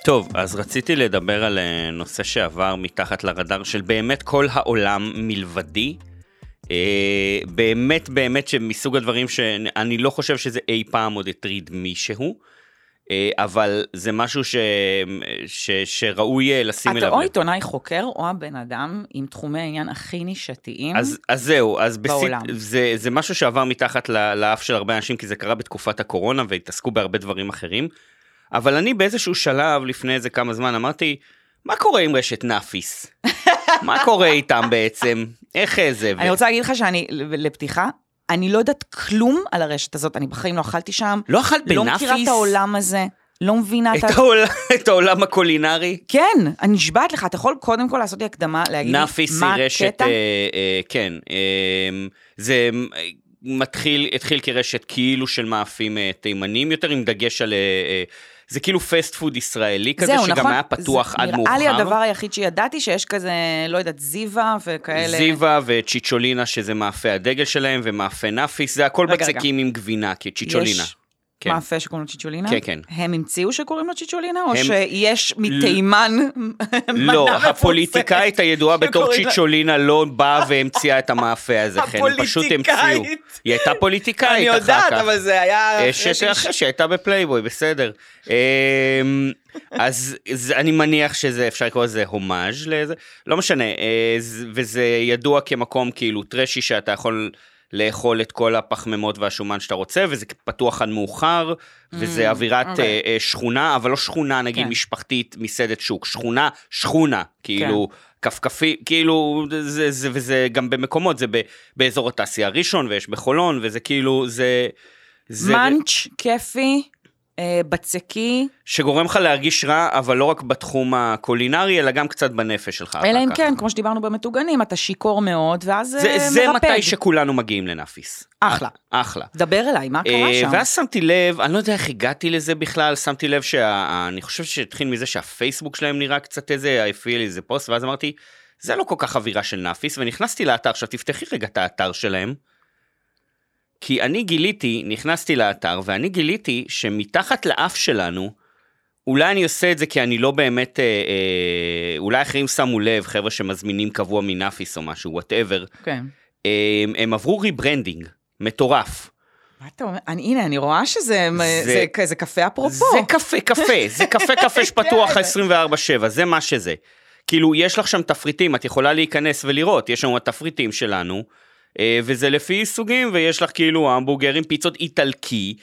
Speaker 3: טוב, אז רציתי לדבר על אה, נושא שעבר מתחת לרדאר של באמת כל העולם מלבדי. אה, באמת באמת שמסוג הדברים שאני לא חושב שזה אי פעם עוד הטריד מישהו, אה, אבל זה משהו ש, ש, שראוי אה, לשים
Speaker 2: אתה
Speaker 3: אליו.
Speaker 2: או
Speaker 3: לב.
Speaker 2: עיתונאי חוקר, או הבן אדם עם תחומי עניין הכי נישתיים.
Speaker 3: אז, אז זהו, אז בסית,
Speaker 2: בעולם.
Speaker 3: זה, זה משהו שעבר מתחת ל- לאף של הרבה אנשים, כי זה קרה בתקופת הקורונה והתעסקו בהרבה דברים אחרים. אבל אני באיזשהו שלב, לפני איזה כמה זמן, אמרתי, מה קורה עם רשת נאפיס? מה קורה איתם בעצם? איך אה, זה? ו-
Speaker 2: אני רוצה להגיד לך שאני, לפתיחה, אני לא יודעת כלום על הרשת הזאת, אני בחיים לא אכלתי שם,
Speaker 3: לא אכלת בנאפיס?
Speaker 2: לא מכירה את העולם הזה, לא מבינה את ה...
Speaker 3: את העולם- את העולם הקולינרי?
Speaker 2: כן, אני נשבעת לך, אתה יכול קודם כל לעשות לי הקדמה, להגיד לי
Speaker 3: נאפיס
Speaker 2: מה
Speaker 3: היא רשת,
Speaker 2: הקטע?
Speaker 3: אה, אה, כן, אה, זה אה, מתחיל, התחיל כרשת כאילו של מאפים אה, תימנים יותר, עם דגש על... אה, אה, זה כאילו פסט פוד ישראלי כזה,
Speaker 2: זהו,
Speaker 3: שגם
Speaker 2: נכון?
Speaker 3: היה פתוח
Speaker 2: זה
Speaker 3: עד
Speaker 2: נראה
Speaker 3: מאוחר.
Speaker 2: לי הדבר היחיד שידעתי שיש כזה, לא יודעת, זיווה וכאלה.
Speaker 3: זיווה וצ'יצ'ולינה, שזה מאפי הדגל שלהם, ומאפי נאפיס, זה הכל
Speaker 2: רגע, רגע.
Speaker 3: בצקים עם גבינה, כי צ'יצ'ולינה.
Speaker 2: יש
Speaker 3: כן.
Speaker 2: מאפה שקוראים לו צ'יצ'ולינה?
Speaker 3: כן, כן.
Speaker 2: הם המציאו שקוראים לו צ'יצ'ולינה, או
Speaker 3: הם-
Speaker 2: שיש מתימן מנה
Speaker 3: לא,
Speaker 2: מפורסמת?
Speaker 3: הפוליטיקאית הידועה בתור
Speaker 2: שקוראים לה-
Speaker 3: צ'יצ'ולינה לא באה והמציאה את המאפה הזה, חן, הם פשוט המציאו.
Speaker 2: הפוליטיקאית.
Speaker 3: היא הייתה
Speaker 2: אני
Speaker 3: פוליטיקאית אחר כך.
Speaker 2: יודעת, אבל זה היה...
Speaker 3: אה, יש את אחרי שהייתה בפלייבוי, בסדר. אמ, אז זה- אני מניח שזה, אפשר לקרוא לזה הומאז' לאיזה, לא משנה, אה, ז- וזה ידוע כמקום כאילו טרשי שאתה יכול לאכול את כל הפחמימות והשומן שאתה רוצה, וזה פתוח עד מאוחר, וזה אווירת
Speaker 2: אוקיי.
Speaker 3: אה, אה, שכונה, אבל לא שכונה נגיד
Speaker 2: כן.
Speaker 3: משפחתית, מסעדת שוק, שכונה, שכונה, כאילו.
Speaker 2: כן.
Speaker 3: כפכפי, כאילו, זה, זה, וזה גם במקומות, זה ב, באזור התעשייה ראשון, ויש בחולון, וזה כאילו, זה... זה
Speaker 2: מאנץ', כיפי, אה, בצקי,
Speaker 3: שגורם לך להרגיש רע, אבל לא רק בתחום הקולינרי, אלא גם קצת בנפש שלך. אחר
Speaker 2: אלא אם
Speaker 3: כך.
Speaker 2: כן, כמו שדיברנו במטוגנים, אתה שיכור מאוד, ואז אה,
Speaker 3: אה, זה,
Speaker 2: מרפד.
Speaker 3: זה מתי שכולנו מגיעים לנאפיס.
Speaker 2: אחלה.
Speaker 3: אחלה.
Speaker 2: דבר אליי, מה קרה
Speaker 3: אה,
Speaker 2: שם?
Speaker 3: ואז שמתי לב, אני לא יודע איך הגעתי לזה בכלל, שמתי לב שה... אני חושב שהתחיל מזה שהפייסבוק שלהם נראה קצת איזה, הפעיל איזה פוסט, ואז אמרתי, זה לא כל כך אווירה של נאפיס, ונכנסתי לאתר, עכשיו תפתחי רגע את האתר שלהם. כי אני גיליתי, נכנסתי לאתר, ואני גיליתי שמתחת לאף שלנו, אולי אני עושה את זה כי אני לא באמת, אה, אה, אולי אחרים שמו לב, חבר'ה שמזמינים קבוע מנאפיס או משהו, וואטאבר,
Speaker 2: כן.
Speaker 3: אה, הם עברו ריברנדינג, מטורף.
Speaker 2: מה אתה אומר? אני- הנה, אני רואה שזה
Speaker 3: זה-
Speaker 2: זה כזה קפה אפרופו.
Speaker 3: זה קפה, קפה, זה קפה,
Speaker 2: [LAUGHS]
Speaker 3: קפה שפתוח
Speaker 2: כן.
Speaker 3: 24/7, זה מה שזה. כאילו, יש לך שם תפריטים, את יכולה להיכנס ולראות, יש לנו התפריטים שלנו, אה, וזה לפי סוגים, ויש לך כאילו המבורגרים, פיצות איטלקי,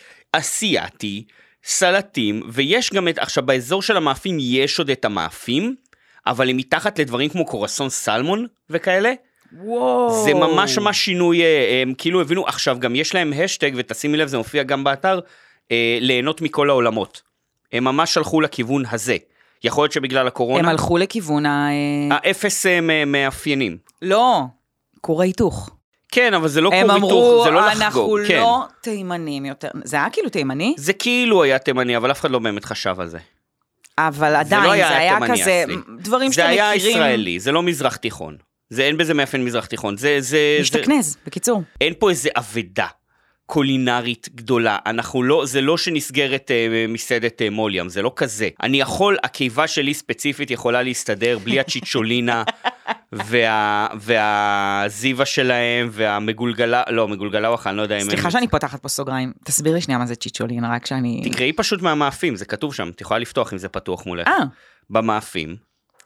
Speaker 3: אסיאתי, סלטים, ויש גם את, עכשיו, באזור של המאפים יש עוד את המאפים, אבל הם מתחת לדברים כמו קורסון סלמון וכאלה.
Speaker 2: וואו.
Speaker 3: זה ממש ממש שינוי, אה, הם כאילו הבינו, עכשיו גם יש להם השטג, ותשימי לב, זה מופיע גם באתר, אה, ליהנות מכל העולמות. הם ממש הלכו לכיוון הזה. יכול להיות שבגלל
Speaker 2: הם
Speaker 3: הקורונה,
Speaker 2: הלכו לכיוון ה... אה,
Speaker 3: האפס הם אה, מאפיינים.
Speaker 2: לא, כור ההיתוך.
Speaker 3: כן, אבל זה לא
Speaker 2: הם
Speaker 3: כור היתוך,
Speaker 2: אמרו,
Speaker 3: זה לא
Speaker 2: אנחנו
Speaker 3: לחגוג. כן.
Speaker 2: לא תימנים יותר. זה היה כאילו תימני,
Speaker 3: זה כאילו היה תימני, אבל אף אחד לא באמת חשב על זה.
Speaker 2: אבל
Speaker 3: לא
Speaker 2: עדיין
Speaker 3: היה
Speaker 2: זה היה
Speaker 3: תימני
Speaker 2: כזה,
Speaker 3: אצלי.
Speaker 2: דברים
Speaker 3: זה
Speaker 2: שאתם
Speaker 3: היה
Speaker 2: מכירים.
Speaker 3: ישראלי, זה לא מזרח תיכון. זה אין בזה מאפיין מזרח תיכון. זה, זה, זה,
Speaker 2: משתכנז, בקיצור.
Speaker 3: אין פה איזה אבדה קולינרית גדולה. אנחנו לא, זה לא שנסגרת אה, מסעדת אה, מול ים, זה לא כזה. אני יכול, הקיבה שלי ספציפית יכולה להסתדר בלי הצ'יצ'ולינה
Speaker 2: [LAUGHS]
Speaker 3: וה, והזיווה שלהם והמגולגלה, לא, מגולגלווח, אני לא יודע אם... הם-
Speaker 2: סליחה שאני פותחת פה סוגריים, תסביר לי שנייה מה זה צ'יצ'ולין, רק שאני...
Speaker 3: תקראי פשוט מהמאפים, זה כתוב שם, את יכולה לפתוח אם זה פתוח מולך.
Speaker 2: אה,
Speaker 3: במאפים.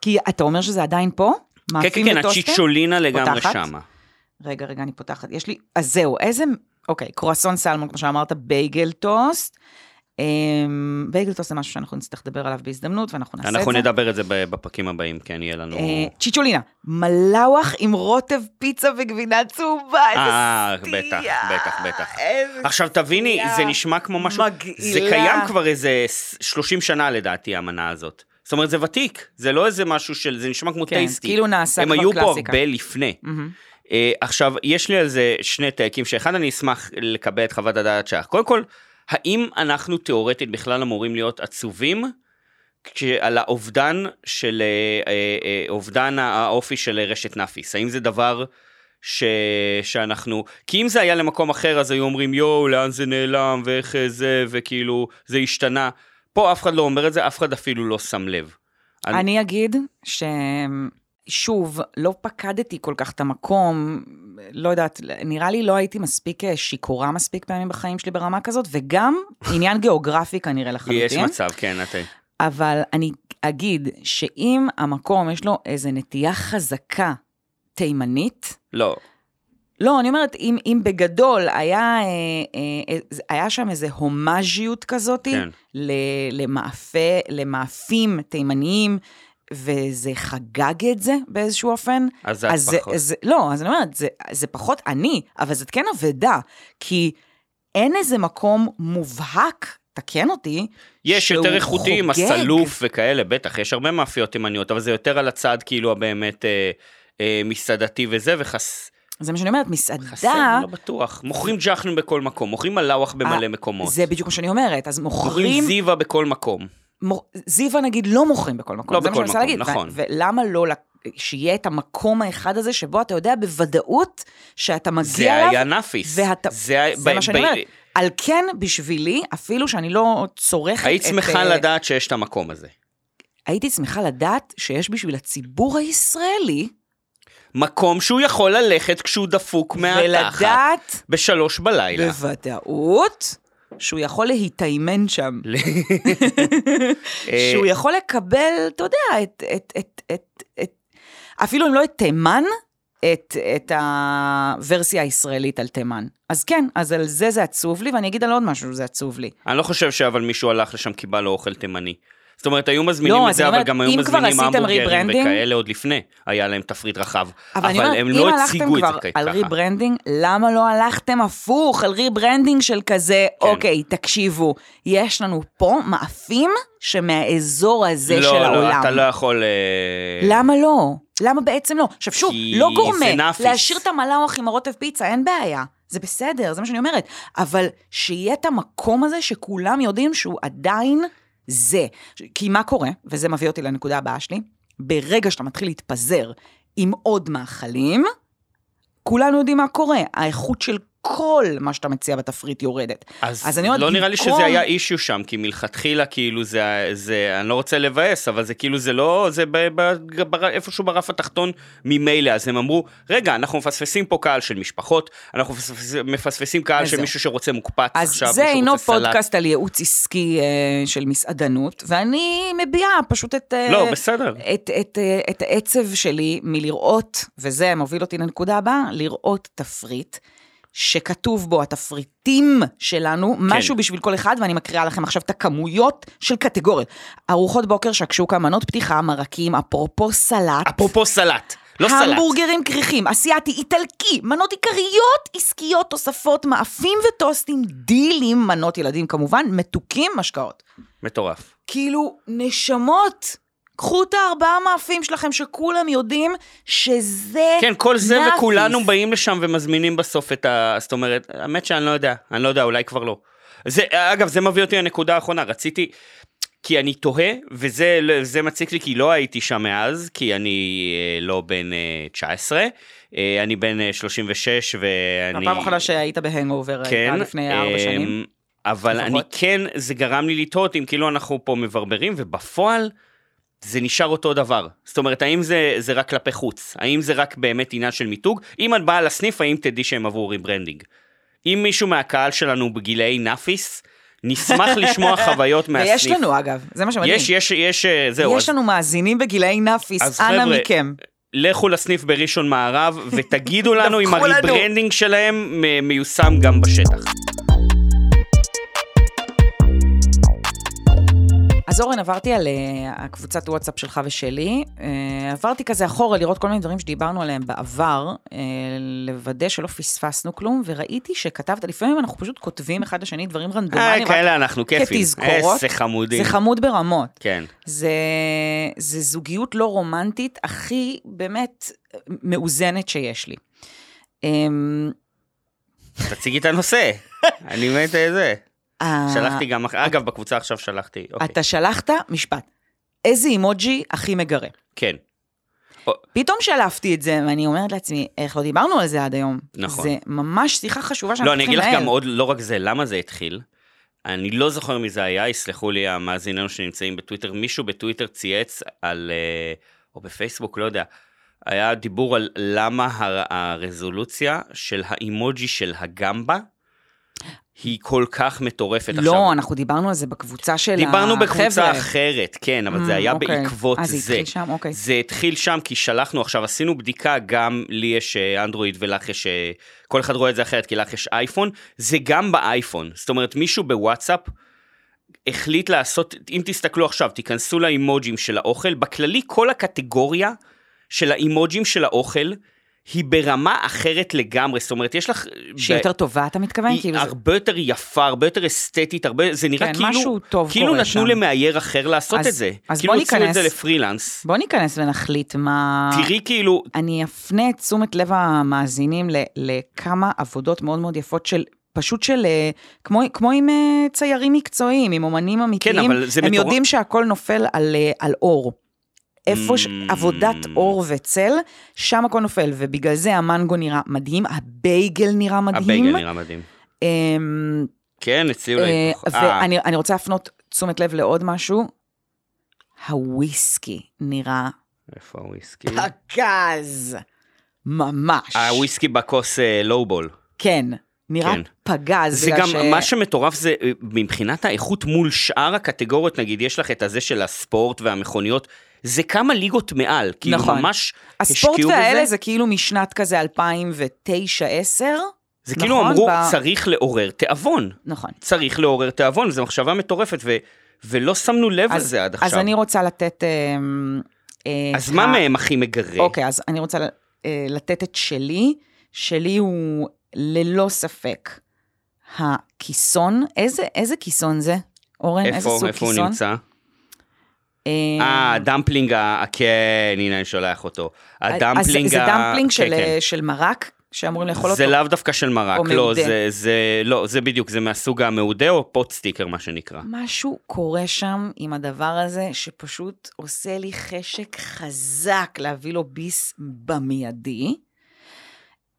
Speaker 2: כי אתה אומר שזה עדיין פה?
Speaker 3: כן,
Speaker 2: מאפים
Speaker 3: כן, כן,
Speaker 2: וטוסטים?
Speaker 3: הצ'יצ'ולינה לגמרי
Speaker 2: פותחת?
Speaker 3: שמה.
Speaker 2: רגע, רגע, אני פותחת. יש לי... אז זהו, איזה... אוקיי, קרואסון סלמון, כמו שאמרת, בייגל טוסט. אמ, בייגל טוסט זה משהו שאנחנו נצטרך לדבר עליו בהזדמנות, ואנחנו נעשה את זה.
Speaker 3: אנחנו נדבר את זה ב- בפרקים הבאים, כן, יהיה לנו...
Speaker 2: אה, צ'יצ'ולינה, מלאוח עם רוטב פיצה וגבינה צהובה, איזה
Speaker 3: אה,
Speaker 2: סטייה.
Speaker 3: בטח, בטח, בטח.
Speaker 2: איזה
Speaker 3: עכשיו תביני,
Speaker 2: סטייה.
Speaker 3: זה נשמע כמו משהו,
Speaker 2: מגעילה.
Speaker 3: זה קיים כבר איזה ס- 30 שנה לדעתי המנה הזאת. זאת אומרת זה ותיק, זה לא איזה משהו של, זה נשמע כמו
Speaker 2: כן,
Speaker 3: טייסטי.
Speaker 2: כאילו נעשה כבר
Speaker 3: הם היו
Speaker 2: קלאסיקה.
Speaker 3: פה הרבה לפני.
Speaker 2: מהמם.
Speaker 3: אה, עכשיו, יש לי על זה שני טייקים, שאחד אני אשמח לקבל את חוות הדעת שלך. קודם כל, האם אנחנו תיאורטית בכלל אמורים להיות עצובים על האובדן של, אה, אה, אה, אובדן האופי של רשת נאפיס? האם זה דבר ש... שאנחנו, כי אם זה היה למקום אחר אז היו אומרים יואו לאן זה נעלם ואיך אה, זה וכאילו זה השתנה. פה אף אחד לא אומר את זה, אף אחד אפילו לא שם לב. אני-
Speaker 2: אני אגיד ששוב, לא פקדתי כל כך את המקום, לא יודעת, נראה לי לא הייתי מספיק אה, שיכורה מספיק פעמים בחיים שלי ברמה כזאת, וגם
Speaker 3: [LAUGHS]
Speaker 2: עניין גיאוגרפי כנראה לחלוטין.
Speaker 3: יש מצב, כן, אתה...
Speaker 2: אבל אני אגיד שאם המקום יש לו איזו נטייה חזקה תימנית,
Speaker 3: לא,
Speaker 2: לא, אני אומרת, אם, אם בגדול היה, אה, אה, אה, היה שם איזו הומאז'יות כזאת
Speaker 3: כן.
Speaker 2: למאפה, למאפים תימניים, וזה חגג את זה באיזשהו אופן.
Speaker 3: אז זה את פחות.
Speaker 2: זה, לא, אז אני אומרת, זה, זה פחות אני, אבל זאת כן אבדה, כי אין איזה מקום מובהק, תקן אותי,
Speaker 3: יש
Speaker 2: שהוא
Speaker 3: יותר איכותיים,
Speaker 2: חוגג.
Speaker 3: הסלוף וכאלה, בטח, יש הרבה מאפיות תימניות, אבל זה יותר על הצד כאילו הבאמת אה, אה, מסעדתי וזה, וחס...
Speaker 2: זה מה שאני אומרת,
Speaker 3: חסר,
Speaker 2: מסעדה,
Speaker 3: לא בטוח. מוכרים ג'חנון בכל מקום, מוכרים מלאווח במלא
Speaker 2: אה,
Speaker 3: מקומות.
Speaker 2: זה בדיוק מה שאני אומרת, אז
Speaker 3: מוכרים
Speaker 2: מוכרים,
Speaker 3: זיווה בכל מקום.
Speaker 2: מור- זיווה נגיד לא מוכרים בכל מקום,
Speaker 3: לא
Speaker 2: זה
Speaker 3: בכל
Speaker 2: מה שאני מנסה
Speaker 3: מקום, נכון.
Speaker 2: להגיד, ו- ולמה לא לק- שיהיה את המקום האחד הזה שבו אתה יודע בוודאות שאתה
Speaker 3: זה
Speaker 2: מגיע אליו,
Speaker 3: היה נאפיס.
Speaker 2: ואתה-
Speaker 3: היה-
Speaker 2: זה
Speaker 3: ב-
Speaker 2: מה שאני
Speaker 3: ב-
Speaker 2: אומרת. על כן, בשבילי, אפילו שאני לא צורכת
Speaker 3: היית
Speaker 2: את,
Speaker 3: שמחה
Speaker 2: אה,
Speaker 3: לדעת שיש את המקום הזה.
Speaker 2: הייתי שמחה לדעת שיש בשביל הציבור הישראלי,
Speaker 3: מקום שהוא יכול ללכת כשהוא דפוק מהתחת
Speaker 2: ולדעת
Speaker 3: בשלוש בלילה.
Speaker 2: בוודאות שהוא יכול להתאימן
Speaker 3: [LAUGHS]
Speaker 2: שם.
Speaker 3: אה,
Speaker 2: שהוא יכול לקבל, אתה יודע, את, את, את, את, את אפילו אם לא את תימן, את, את הוורסיה הישראלית על תימן. אז כן, אז על זה זה עצוב לי, ואני אגיד על עוד משהו, זה עצוב לי.
Speaker 3: אני לא חושב שאבל מישהו הלך לשם כי בא לו אוכל תימני. זאת אומרת, היו מזמינים
Speaker 2: לא,
Speaker 3: את
Speaker 2: אז
Speaker 3: זה,
Speaker 2: אני
Speaker 3: אבל
Speaker 2: אומרת,
Speaker 3: גם היו
Speaker 2: אם כבר
Speaker 3: מזמינים
Speaker 2: עשיתם
Speaker 3: המבורגרים
Speaker 2: rebranding-
Speaker 3: וכאלה עוד לפני. היה להם תפריט רחב.
Speaker 2: אבל, אני
Speaker 3: אבל
Speaker 2: אומרת,
Speaker 3: הם
Speaker 2: אם
Speaker 3: לא
Speaker 2: הלכתם
Speaker 3: הציגו את זה
Speaker 2: כבר על
Speaker 3: ככה.
Speaker 2: ריברנדינג, למה לא הלכתם הפוך על ריברנדינג של כזה,
Speaker 3: כן.
Speaker 2: אוקיי, תקשיבו, יש לנו פה מאפים שמהאזור הזה של
Speaker 3: לא,
Speaker 2: העולם.
Speaker 3: לא, אתה לא יכול... אה,
Speaker 2: למה לא? למה בעצם לא? עכשיו שוב,
Speaker 3: כי
Speaker 2: לא
Speaker 3: זה
Speaker 2: גורמה,
Speaker 3: נאפיס.
Speaker 2: להשאיר את המלאוח עם הרוטב פיצה, אין בעיה. זה בסדר, זה מה שאני אומרת. אבל שיהיה את המקום הזה שכולם יודעים שהוא עדיין זה. ש- כי מה קורה, וזה מביא אותי לנקודה הבאה שלי, ברגע שאתה מתחיל להתפזר עם עוד מאכלים, כולנו יודעים מה קורה. האיכות של כל מה שאתה מציע בתפריט יורדת.
Speaker 3: אז,
Speaker 2: אז אני אומרת,
Speaker 3: לא נראה לי
Speaker 2: במקום-
Speaker 3: שזה היה אישיו שם, כי מלכתחילה כאילו זה, זה, אני לא רוצה לבאס, אבל זה כאילו זה לא, זה ב, ב, ב, איפשהו ברף התחתון ממילא, אז הם אמרו, רגע, אנחנו מפספסים פה קהל של משפחות, אנחנו מפספס, מפספסים קהל
Speaker 2: אז
Speaker 3: של
Speaker 2: זהו.
Speaker 3: מישהו שרוצה מוקפץ
Speaker 2: אז
Speaker 3: עכשיו,
Speaker 2: זה
Speaker 3: מישהו
Speaker 2: אינו
Speaker 3: רוצה סלט.
Speaker 2: פודקאסט על ייעוץ עסקי אה, של מסעדנות, ואני מביעה פשוט את... אה,
Speaker 3: לא, בסדר.
Speaker 2: את, את, אה, את העצב שלי מלראות, וזה מוביל אותי לנקודה הבאה, לראות תפריט שכתוב בו התפריטים שלנו, כן. משהו בשביל כל אחד, ואני מקריאה לכם עכשיו את הכמויות של קטגוריות. ארוחות בוקר, שקשוקה, מנות פתיחה, מרקים, אפרופו סלט.
Speaker 3: אפרופו סלט, לא סלט.
Speaker 2: המבורגרים כריכים, אסיאתי, איטלקי, מנות עיקריות, עסקיות, תוספות, מאפים וטוסטים, דילים, מנות ילדים כמובן, מתוקים, משקאות.
Speaker 3: מטורף.
Speaker 2: כאילו, נשמות, קחו את הארבעה מאפים שלכם שכולם יודעים שזה
Speaker 3: כן, כל זה
Speaker 2: נאפיס.
Speaker 3: וכולנו באים לשם ומזמינים בסוף את ה... זאת אומרת, האמת שאני לא יודע, אני לא יודע, אולי כבר לא. זה, אגב, זה מביא אותי לנקודה האחרונה, רציתי... כי אני תוהה, וזה זה מציק לי כי לא הייתי שם מאז, כי אני אה, לא בן אה, 19, אה, אני בן אה, 36 ואני...
Speaker 2: הפעם האחרונה שהיית בהנגאובר הייתה לפני ארבע
Speaker 3: אמ,
Speaker 2: שנים.
Speaker 3: אבל
Speaker 2: לפחות.
Speaker 3: אני כן, זה גרם לי לתהות אם כאילו אנחנו פה מברברים, ובפועל זה נשאר אותו דבר. זאת אומרת, האם זה, זה רק כלפי חוץ? האם זה רק באמת עניין של מיתוג? אם את באה לסניף, האם תדעי שהם עברו ריברנדינג? אם מישהו מהקהל שלנו בגילאי נאפיס, נשמח לשמוע
Speaker 2: [LAUGHS]
Speaker 3: חוויות מהסניף.
Speaker 2: ויש לנו אגב, זה מה שמדהים.
Speaker 3: יש, יש, יש, אה, זהו,
Speaker 2: יש
Speaker 3: אז
Speaker 2: לנו מאזינים בגילאי
Speaker 3: אז
Speaker 2: נאפיס, אנא
Speaker 3: חבר'ה,
Speaker 2: מכם.
Speaker 3: לכו לסניף בראשון מערב ותגידו לנו אם
Speaker 2: דווחו לנו.
Speaker 3: הריברנדינג שלהם מ- מיושם גם בשטח.
Speaker 2: אז אורן, עברתי על אה, הקבוצת וואטסאפ שלך ושלי. אה, עברתי כזה אחורה לראות כל מיני דברים שדיברנו עליהם בעבר, אה, לוודא שלא פספסנו כלום, וראיתי שכתבת, לפעמים אנחנו פשוט כותבים אחד לשני דברים רנדומליים,
Speaker 3: אה,
Speaker 2: רק
Speaker 3: כאלה אנחנו כיפים.
Speaker 2: כתזכורות.
Speaker 3: איזה חמודים.
Speaker 2: זה חמוד ברמות.
Speaker 3: כן.
Speaker 2: זה, זה זוגיות לא רומנטית הכי באמת מאוזנת שיש לי. אמ,
Speaker 3: תציגי את
Speaker 2: [LAUGHS]
Speaker 3: הנושא. אני מת אה, זה.
Speaker 2: ה-
Speaker 3: שלחתי גם, אח- אגב, בקבוצה עכשיו שלחתי. אוקיי.
Speaker 2: אתה שלחת משפט. איזה אימוג'י הכי מגרה?
Speaker 3: כן.
Speaker 2: לא פתאום שלפתי את זה, ואני אומרת לעצמי, איך לא דיברנו על זה עד היום?
Speaker 3: נכון.
Speaker 2: זה ממש שיחה חשובה שאנחנו
Speaker 3: לא, אני
Speaker 2: צריכים
Speaker 3: אגיד
Speaker 2: לנהל.
Speaker 3: לך גם עוד, לא רק זה, למה זה התחיל. אני לא זוכר מי זה היה, יסלחו לי המאזיננו שנמצאים בטוויטר, מישהו בטוויטר צייץ על, אה, או בפייסבוק, לא יודע, היה דיבור על למה הר- הרזולוציה של האימוג'י של הגמבה היא כל כך מטורפת עכשיו.
Speaker 2: לא, אנחנו דיברנו על זה בקבוצה של
Speaker 3: דיברנו בקבוצה
Speaker 2: החבר'ה.
Speaker 3: אחרת, כן, אבל זה
Speaker 2: Mm,
Speaker 3: היה
Speaker 2: אוקיי.
Speaker 3: בעקבות
Speaker 2: אה,
Speaker 3: זה.
Speaker 2: זה התחיל שם, אוקיי.
Speaker 3: זה התחיל שם כי שלחנו עכשיו, עשינו בדיקה, גם לי יש אה, אנדרואיד ולך יש, אה, כל אחד רואה את זה אחרת, כי לך יש אייפון, זה גם באייפון. זאת אומרת, מישהו בוואטסאפ החליט לעשות, אם תסתכלו עכשיו, תיכנסו לאימוג'ים של האוכל, בכללי כל הקטגוריה של האימוג'ים של האוכל היא ברמה אחרת לגמרי, זאת אומרת, יש לך... אה,
Speaker 2: שהיא
Speaker 3: ב-
Speaker 2: יותר טובה, אתה מתכוון?
Speaker 3: היא
Speaker 2: כאילו זה-
Speaker 3: הרבה יותר יפה, הרבה יותר אסתטית, הרבה, זה נראה
Speaker 2: כן,
Speaker 3: כאילו,
Speaker 2: משהו טוב
Speaker 3: כאילו
Speaker 2: קורה
Speaker 3: נתנו
Speaker 2: שם.
Speaker 3: למאייר אחר לעשות
Speaker 2: אה. אז-
Speaker 3: את זה.
Speaker 2: אז
Speaker 3: כאילו
Speaker 2: בוא
Speaker 3: הוציאו את
Speaker 2: ניכנס. אה.
Speaker 3: זה לפרילנס.
Speaker 2: בוא ניכנס ונחליט מה...
Speaker 3: תראי כאילו,
Speaker 2: אני אפנה את תשומת לב המאזינים ל- לכמה עבודות מאוד מאוד יפות של... פשוט של, אה, כמו, כמו עם אה, ציירים מקצועיים, עם אומנים אמיתיים,
Speaker 3: כן, אבל זה
Speaker 2: הם
Speaker 3: מטורף.
Speaker 2: יודעים שהכל נופל על, אה, על אור. איפה ש...
Speaker 3: Mm.
Speaker 2: עבודת אור וצל, שם הכל נופל, ובגלל זה המנגו נראה מדהים, הבייגל נראה מדהים.
Speaker 3: הבייגל אה, נראה מדהים.
Speaker 2: אמ,
Speaker 3: כן, הציעו לי.
Speaker 2: אה, ואני אני רוצה להפנות תשומת לב לעוד משהו. הוויסקי נראה
Speaker 3: איפה הוויסקי?
Speaker 2: אה,
Speaker 3: אה,
Speaker 2: פגז. ממש.
Speaker 3: הוויסקי בכוס אה, לואו-בול.
Speaker 2: כן, נראה
Speaker 3: כן.
Speaker 2: פגז.
Speaker 3: זה
Speaker 2: בגלל
Speaker 3: גם,
Speaker 2: ש-
Speaker 3: מה שמטורף זה אה, מבחינת האיכות מול שאר הקטגוריות, נגיד, יש לך את הזה של הספורט והמכוניות, זה כמה ליגות מעל, כאילו
Speaker 2: נכון.
Speaker 3: ממש השקיעו
Speaker 2: הספורט
Speaker 3: בזה.
Speaker 2: והאלה זה כאילו משנת כזה 2009-2010.
Speaker 3: זה כאילו
Speaker 2: נכון,
Speaker 3: אמרו,
Speaker 2: ב-
Speaker 3: צריך לעורר תיאבון.
Speaker 2: נכון.
Speaker 3: צריך לעורר תיאבון, זו מחשבה מטורפת, ו, ולא שמנו לב
Speaker 2: אז-
Speaker 3: לזה עד עכשיו.
Speaker 2: אז אני רוצה לתת... אמ, אה,
Speaker 3: אז מה
Speaker 2: ה-
Speaker 3: מהם הכי מגרה?
Speaker 2: אוקיי, אז אני רוצה אה, לתת את שלי. שלי הוא ללא ספק הכיסון. איזה, איזה כיסון זה? אורן, איזה
Speaker 3: איפה,
Speaker 2: סוג
Speaker 3: איפה הוא
Speaker 2: כיסון?
Speaker 3: נמצא?
Speaker 2: אה,
Speaker 3: אה, הדמפלינג, ה... כן, הנה אני שולח אותו.
Speaker 2: אז זה-
Speaker 3: הדמפלינג
Speaker 2: אה, זה
Speaker 3: ה-
Speaker 2: דמפלינג
Speaker 3: כן,
Speaker 2: של,
Speaker 3: כן.
Speaker 2: אה, של מרק, שאמורים לאכול
Speaker 3: זה
Speaker 2: אותו.
Speaker 3: לאו דווקא של מרק,
Speaker 2: או
Speaker 3: לא,
Speaker 2: מעודה.
Speaker 3: זה, זה, לא, זה בדיוק, זה מהסוג המעודה או פוט סטיקר מה שנקרא.
Speaker 2: משהו קורה שם עם הדבר הזה, שפשוט עושה לי חשק חזק להביא לו ביס במיידי.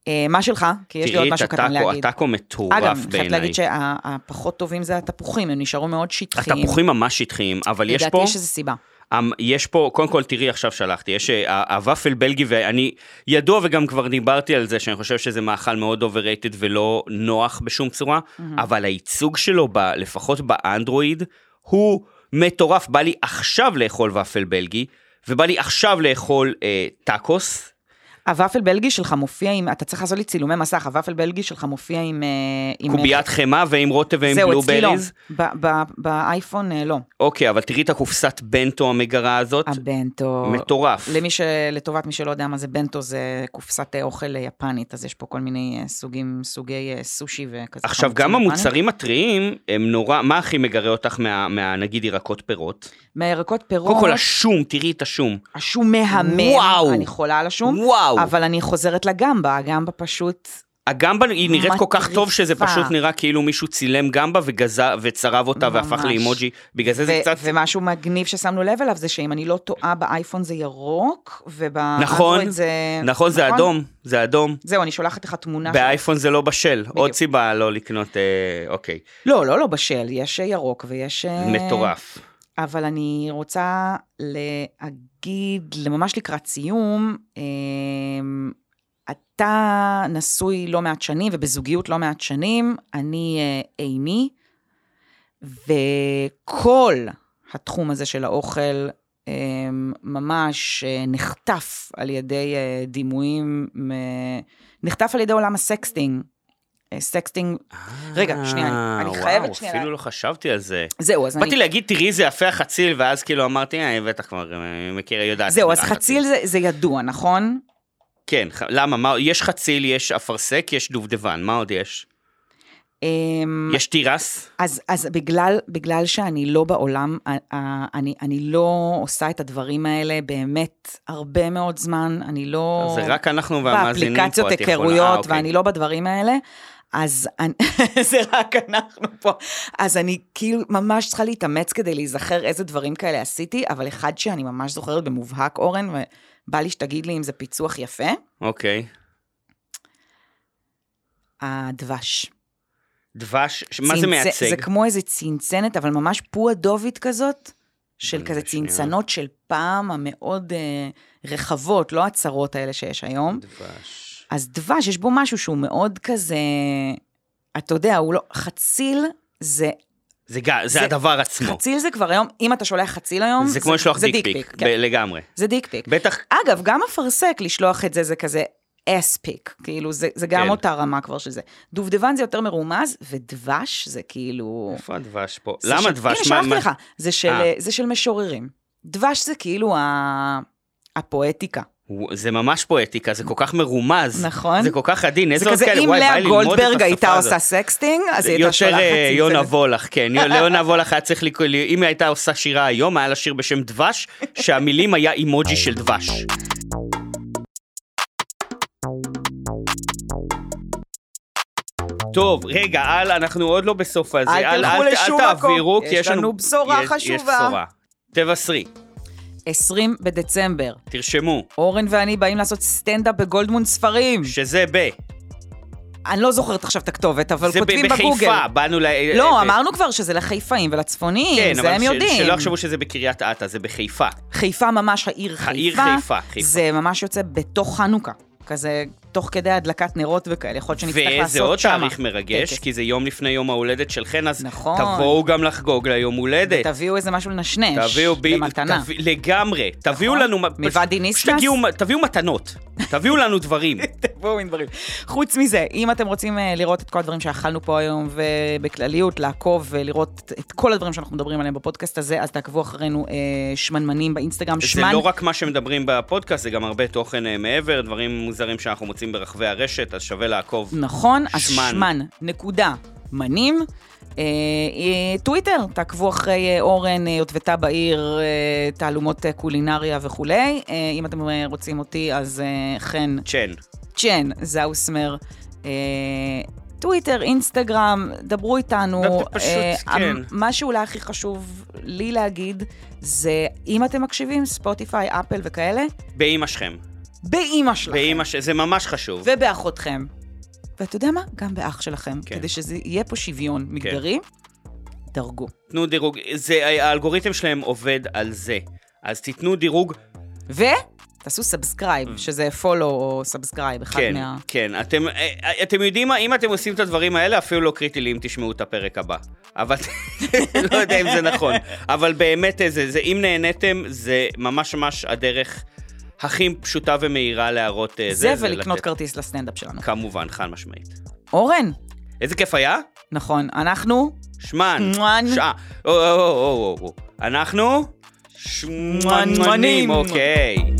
Speaker 2: אה, מה שלך? כי יש לי עוד
Speaker 3: תראי את
Speaker 2: משהו קטן
Speaker 3: הטאקו,
Speaker 2: להגיד.
Speaker 3: הטאקו
Speaker 2: אגב,
Speaker 3: מטורף
Speaker 2: אני חייבת
Speaker 3: בעיניי.
Speaker 2: להגיד שהפחות טובים זה התפוחים, הם נשארו מאוד שטחיים.
Speaker 3: התפוחים ממש שטחיים, אבל יש
Speaker 2: לדעתי
Speaker 3: פה,
Speaker 2: יש איזו סיבה.
Speaker 3: אמ, יש פה, קודם כל תראי עכשיו שלחתי, יש אה, ה- הוואפל בלגי ואני ידוע וגם כבר דיברתי על זה שאני חושב שזה מאכל מאוד overrated ולא נוח בשום צורה, אבל הייצוג שלו, ב, לפחות באנדרואיד, הוא מטורף, בא לי עכשיו לאכול ופל בלגי, ובא לי עכשיו לאכול אה, טאקוס,
Speaker 2: הוואפל בלגי שלך מופיע עם, אתה צריך לעשות לי צילומי מסך, הוואפל בלגי שלך מופיע עם... אה, עם-
Speaker 3: קוביית חמאה ועם רוטב ועם
Speaker 2: זהו, אצלי לא.
Speaker 3: בלובריז.
Speaker 2: ב- ב- באייפון אה, לא.
Speaker 3: אוקיי, אבל תראי את הקופסת בנטו המגרה הזאת,
Speaker 2: הבנטו.
Speaker 3: מטורף.
Speaker 2: למי ש... לטובת מי שלא יודע מה זה בנטו, זה קופסת אה, אוכל אה, יפנית, אז יש פה כל מיני אה, סוגים, סוגי אה, סושי וכזה.
Speaker 3: עכשיו,
Speaker 2: חמוצים
Speaker 3: גם
Speaker 2: יפניים.
Speaker 3: המוצרים הטריים הם נורא, מה הכי מגרה אותך מה, מה נגיד ירקות פירות?
Speaker 2: מהירקות פירות,
Speaker 3: קודם כל השום, תראי את השום.
Speaker 2: השום מהמם,
Speaker 3: וואו.
Speaker 2: אני חולה על השום,
Speaker 3: וואו.
Speaker 2: אבל אני חוזרת לגמבה, הגמבה פשוט...
Speaker 3: הגמבה היא נראית כל כך טוב שזה
Speaker 2: מטריפה.
Speaker 3: פשוט נראה כאילו מישהו צילם גמבה וגזה, וצרב אותה והפך
Speaker 2: ממש.
Speaker 3: לאימוג'י. בגלל זה זה
Speaker 2: ו-
Speaker 3: קצת...
Speaker 2: ומשהו מגניב ששמנו לוב אליו זה שאם אני לא טועה באייפון זה ירוק,
Speaker 3: נכון,
Speaker 2: ובאנדרואיד זה...
Speaker 3: נכון, זה אדום, זה אדום.
Speaker 2: זהו, אני שולחת לך תמונה. של-
Speaker 3: באייפון זה לא בשל. עוד סיבה לא לקנות, אה, אוקיי.
Speaker 2: לא, לא, לא בשל, יש אה, ירוק ויש... אה,
Speaker 3: מטורף.
Speaker 2: אבל אני רוצה להגיד, ממש לקראת סיום, אמ, אתה נשוי לא מעט שנים ובזוגיות לא מעט שנים, אני אה, איני, וכל התחום הזה של האוכל אמ, ממש אה, נחטף על ידי אה, דימויים, מ- נחטף על ידי עולם הסקסטינג. אה, סקסטינג, רגע, שנייה, אני- אני
Speaker 3: וואו,
Speaker 2: חייבת שנייה
Speaker 3: אפילו
Speaker 2: לה-
Speaker 3: לא חשבתי על זה.
Speaker 2: זהו, אז אני...
Speaker 3: באתי להגיד, תראי איזה יפה החציל, ואז כאילו אמרתי, אה, בטח כבר, אה, מכיר, יודעת.
Speaker 2: זהו,
Speaker 3: שזה
Speaker 2: אז
Speaker 3: רק
Speaker 2: חציל זה, זה ידוע, נכון?
Speaker 3: כן, ח- למה? מה- יש חציל, יש אפרסק, יש דובדבן, מה עוד יש?
Speaker 2: אמ,
Speaker 3: יש תירס?
Speaker 2: אז, אז בגלל, בגלל שאני לא בעולם, ה- ה- אני, אני לא עושה את הדברים האלה באמת הרבה מאוד זמן, אני לא...
Speaker 3: זה רק אנחנו והמאזינים פה, את
Speaker 2: באפליקציות
Speaker 3: יכולה- אה,
Speaker 2: היכרויות,
Speaker 3: אוקיי.
Speaker 2: ואני לא בדברים האלה, אז אני, [LAUGHS] זה רק אנחנו פה. אז אני כאילו ממש צריכה להתאמץ כדי להיזכר איזה דברים כאלה עשיתי, אבל אחד שאני ממש זוכרת במובהק, אורן, ובא לי שתגיד לי אם זה פיצוח יפה,
Speaker 3: אוקיי.
Speaker 2: הדבש.
Speaker 3: דבש, ש- מה זה
Speaker 2: צינצ-
Speaker 3: מייצג?
Speaker 2: זה כמו איזה צנצנת, אבל ממש פועדובית כזאת, של
Speaker 3: רגע,
Speaker 2: כזה
Speaker 3: שנייה.
Speaker 2: צנצנות של פעם המאוד אה, רחבות, לא הצרות האלה שיש היום.
Speaker 3: דבש.
Speaker 2: אז דבש, יש בו משהו שהוא מאוד כזה, אתה יודע, הוא לא, חציל זה,
Speaker 3: זה ג- זה
Speaker 2: זה-
Speaker 3: הדבר עצמו.
Speaker 2: חציל זה כבר היום, אם אתה שולח חציל היום,
Speaker 3: זה כמו לשלוח
Speaker 2: זה
Speaker 3: דיקפיק,
Speaker 2: כן,
Speaker 3: לגמרי.
Speaker 2: זה דיקפיק.
Speaker 3: בטח,
Speaker 2: אגב, גם אפרסק, לשלוח את זה, זה כזה, אספיק, כאילו, זה, זה גם
Speaker 3: כן.
Speaker 2: אותה רמה כבר שזה. דובדבן זה יותר מרומז, ודבש זה כאילו...
Speaker 3: איפה הדבש פה?
Speaker 2: זה
Speaker 3: למה
Speaker 2: של-
Speaker 3: דבש?
Speaker 2: הנה,
Speaker 3: מה-
Speaker 2: שלחתי
Speaker 3: מה-
Speaker 2: לך. זה של,
Speaker 3: אה.
Speaker 2: זה של משוררים. דבש זה כאילו ה... הפואטיקה.
Speaker 3: וואו, זה ממש פואטיקה, זה כל כך מרומז.
Speaker 2: נכון.
Speaker 3: זה כל כך עדין,
Speaker 2: זה
Speaker 3: איזה עוד
Speaker 2: כזה,
Speaker 3: כאלה,
Speaker 2: אם
Speaker 3: וואי, בא לי
Speaker 2: לאה
Speaker 3: ללמוד את
Speaker 2: גולדברג
Speaker 3: השפה
Speaker 2: הייתה
Speaker 3: הזאת.
Speaker 2: עושה סקסטינג, אז היא הייתה
Speaker 3: יותר
Speaker 2: שולחת...
Speaker 3: אה,
Speaker 2: לי
Speaker 3: יונה
Speaker 2: את זה.
Speaker 3: וולך, כן. יונה וולך היה צריך לקרוא, לי- אם היא הייתה עושה שירה היום, היה לה שיר בשם דבש, שהמילים היה אימוג'י של דבש. טוב, רגע, אל, אנחנו עוד לא בסוף הזה.
Speaker 2: אל תלכו לשום
Speaker 3: אל תעבירו,
Speaker 2: מקום.
Speaker 3: כי
Speaker 2: יש
Speaker 3: יש לנו...
Speaker 2: לנו בשורה
Speaker 3: יש- יש
Speaker 2: חשובה.
Speaker 3: בשורה. תבשרי,
Speaker 2: 20 בדצמבר,
Speaker 3: תרשמו,
Speaker 2: אורן ואני באים לעשות סטנדאפ בגולדמון ספרים.
Speaker 3: שזה ב...
Speaker 2: אני לא זוכרת עכשיו את הכתובת, אבל
Speaker 3: זה ב-
Speaker 2: כותבים בגוגל.
Speaker 3: בחיפה, באנו ל... אה,
Speaker 2: לא,
Speaker 3: ב-
Speaker 2: אמרנו כבר שזה לחיפאים ולצפונים,
Speaker 3: כן, אבל
Speaker 2: זה הם
Speaker 3: ש-
Speaker 2: יודעים.
Speaker 3: שלא יחשבו שזה בקריית אתא, זה בחיפה.
Speaker 2: חיפה ממש העיר חיפה.
Speaker 3: העיר חיפה, חיפה.
Speaker 2: זה ממש יוצא בתוך חנוכה. כזה, תוך כדי הדלקת נרות וכאלה, יכול להיות שנצטרך לעשות
Speaker 3: וזה
Speaker 2: שמה. כן,
Speaker 3: עוד תאריך מרגש,
Speaker 2: טקס.
Speaker 3: כי זה יום לפני יום ההולדת של חן, אז
Speaker 2: נכון.
Speaker 3: תבואו גם לחגוג ליום הולדת.
Speaker 2: תביאו איזה משהו לנשנש.
Speaker 3: תביאו בי,
Speaker 2: למתנה.
Speaker 3: תביא- לגמרי, תביאו
Speaker 2: נכון.
Speaker 3: לנו,
Speaker 2: מוואדי
Speaker 3: פשוט-
Speaker 2: ניסנס?
Speaker 3: פשוט תגיעו מ- תביאו מתנות, תביאו לנו
Speaker 2: [LAUGHS]
Speaker 3: דברים.
Speaker 2: תבואו עם דברים. חוץ מזה, אם אתם רוצים אה, לראות את כל הדברים שאכלנו פה היום, ובכלליות, לעקוב ולראות את כל הדברים שאנחנו מדברים עליהם בפודקאסט הזה, אז תעקבו אחרינו אה, שמנמנים באינסטגרם,
Speaker 3: זה
Speaker 2: שמן.
Speaker 3: לא רק מה שמדברים בפודקאסט, זה גם הרבה תוכן אה, מעבר, דברים מוזרים שאנחנו מוצאים ברחבי הרשת, אז שווה לעקוב.
Speaker 2: נכון, אז
Speaker 3: שמן.
Speaker 2: שמן, נקודה, מנים. אה, אה, טוויטר, תעקבו אחרי אה, אורן, אה, יוטבתה בעיר, אה, תעלומות אה, קולינריה וכולי. אה, אם אתם אה, רוצים אותי, אז אה, חן
Speaker 3: צ'ן.
Speaker 2: צ'ן זאוסמר. אה, טוויטר, אינסטגרם, דברו איתנו. אה,
Speaker 3: דברו פשוט, כן.
Speaker 2: המ- מה שאולי הכי חשוב לי להגיד, זה אם אתם מקשיבים, ספוטיפיי, אפל וכאלה,
Speaker 3: באימא שלכם.
Speaker 2: באימא שלכם.
Speaker 3: באימא ש... זה ממש חשוב.
Speaker 2: ובאחותכם. ואתה יודע מה? גם באח שלכם.
Speaker 3: כן.
Speaker 2: כדי שזה יהיה פה שוויון מגדרי, דרגו.
Speaker 3: תנו דירוג, זה, האלגוריתם שלהם עובד על זה. אז תיתנו דירוג,
Speaker 2: ותעשו סאבסקרייב, שזה follow או סאבסקרייב, אחד
Speaker 3: Mm. כן,
Speaker 2: מה...
Speaker 3: כן. אתם, אה, אתם יודעים מה, אם אתם עושים את הדברים האלה, אפילו לא קריטי לי אם תשמעו את הפרק הבא. אבל [LAUGHS] לא יודע אם זה נכון. אבל באמת, אה, זה, זה, אם נהניתם, זה ממש ממש הדרך הכי פשוטה ומהירה להראות אה,
Speaker 2: זה ולקנות
Speaker 3: לתת-
Speaker 2: כרטיס לסטנדאפ שלנו.
Speaker 3: כמובן, חד משמעית.
Speaker 2: אורן,
Speaker 3: איזה כיף היה?
Speaker 2: נכון, אנחנו
Speaker 3: שמן.
Speaker 2: מואן.
Speaker 3: שעה. או, או, או, או, או, או. אנחנו? שמנמנים, אוקיי.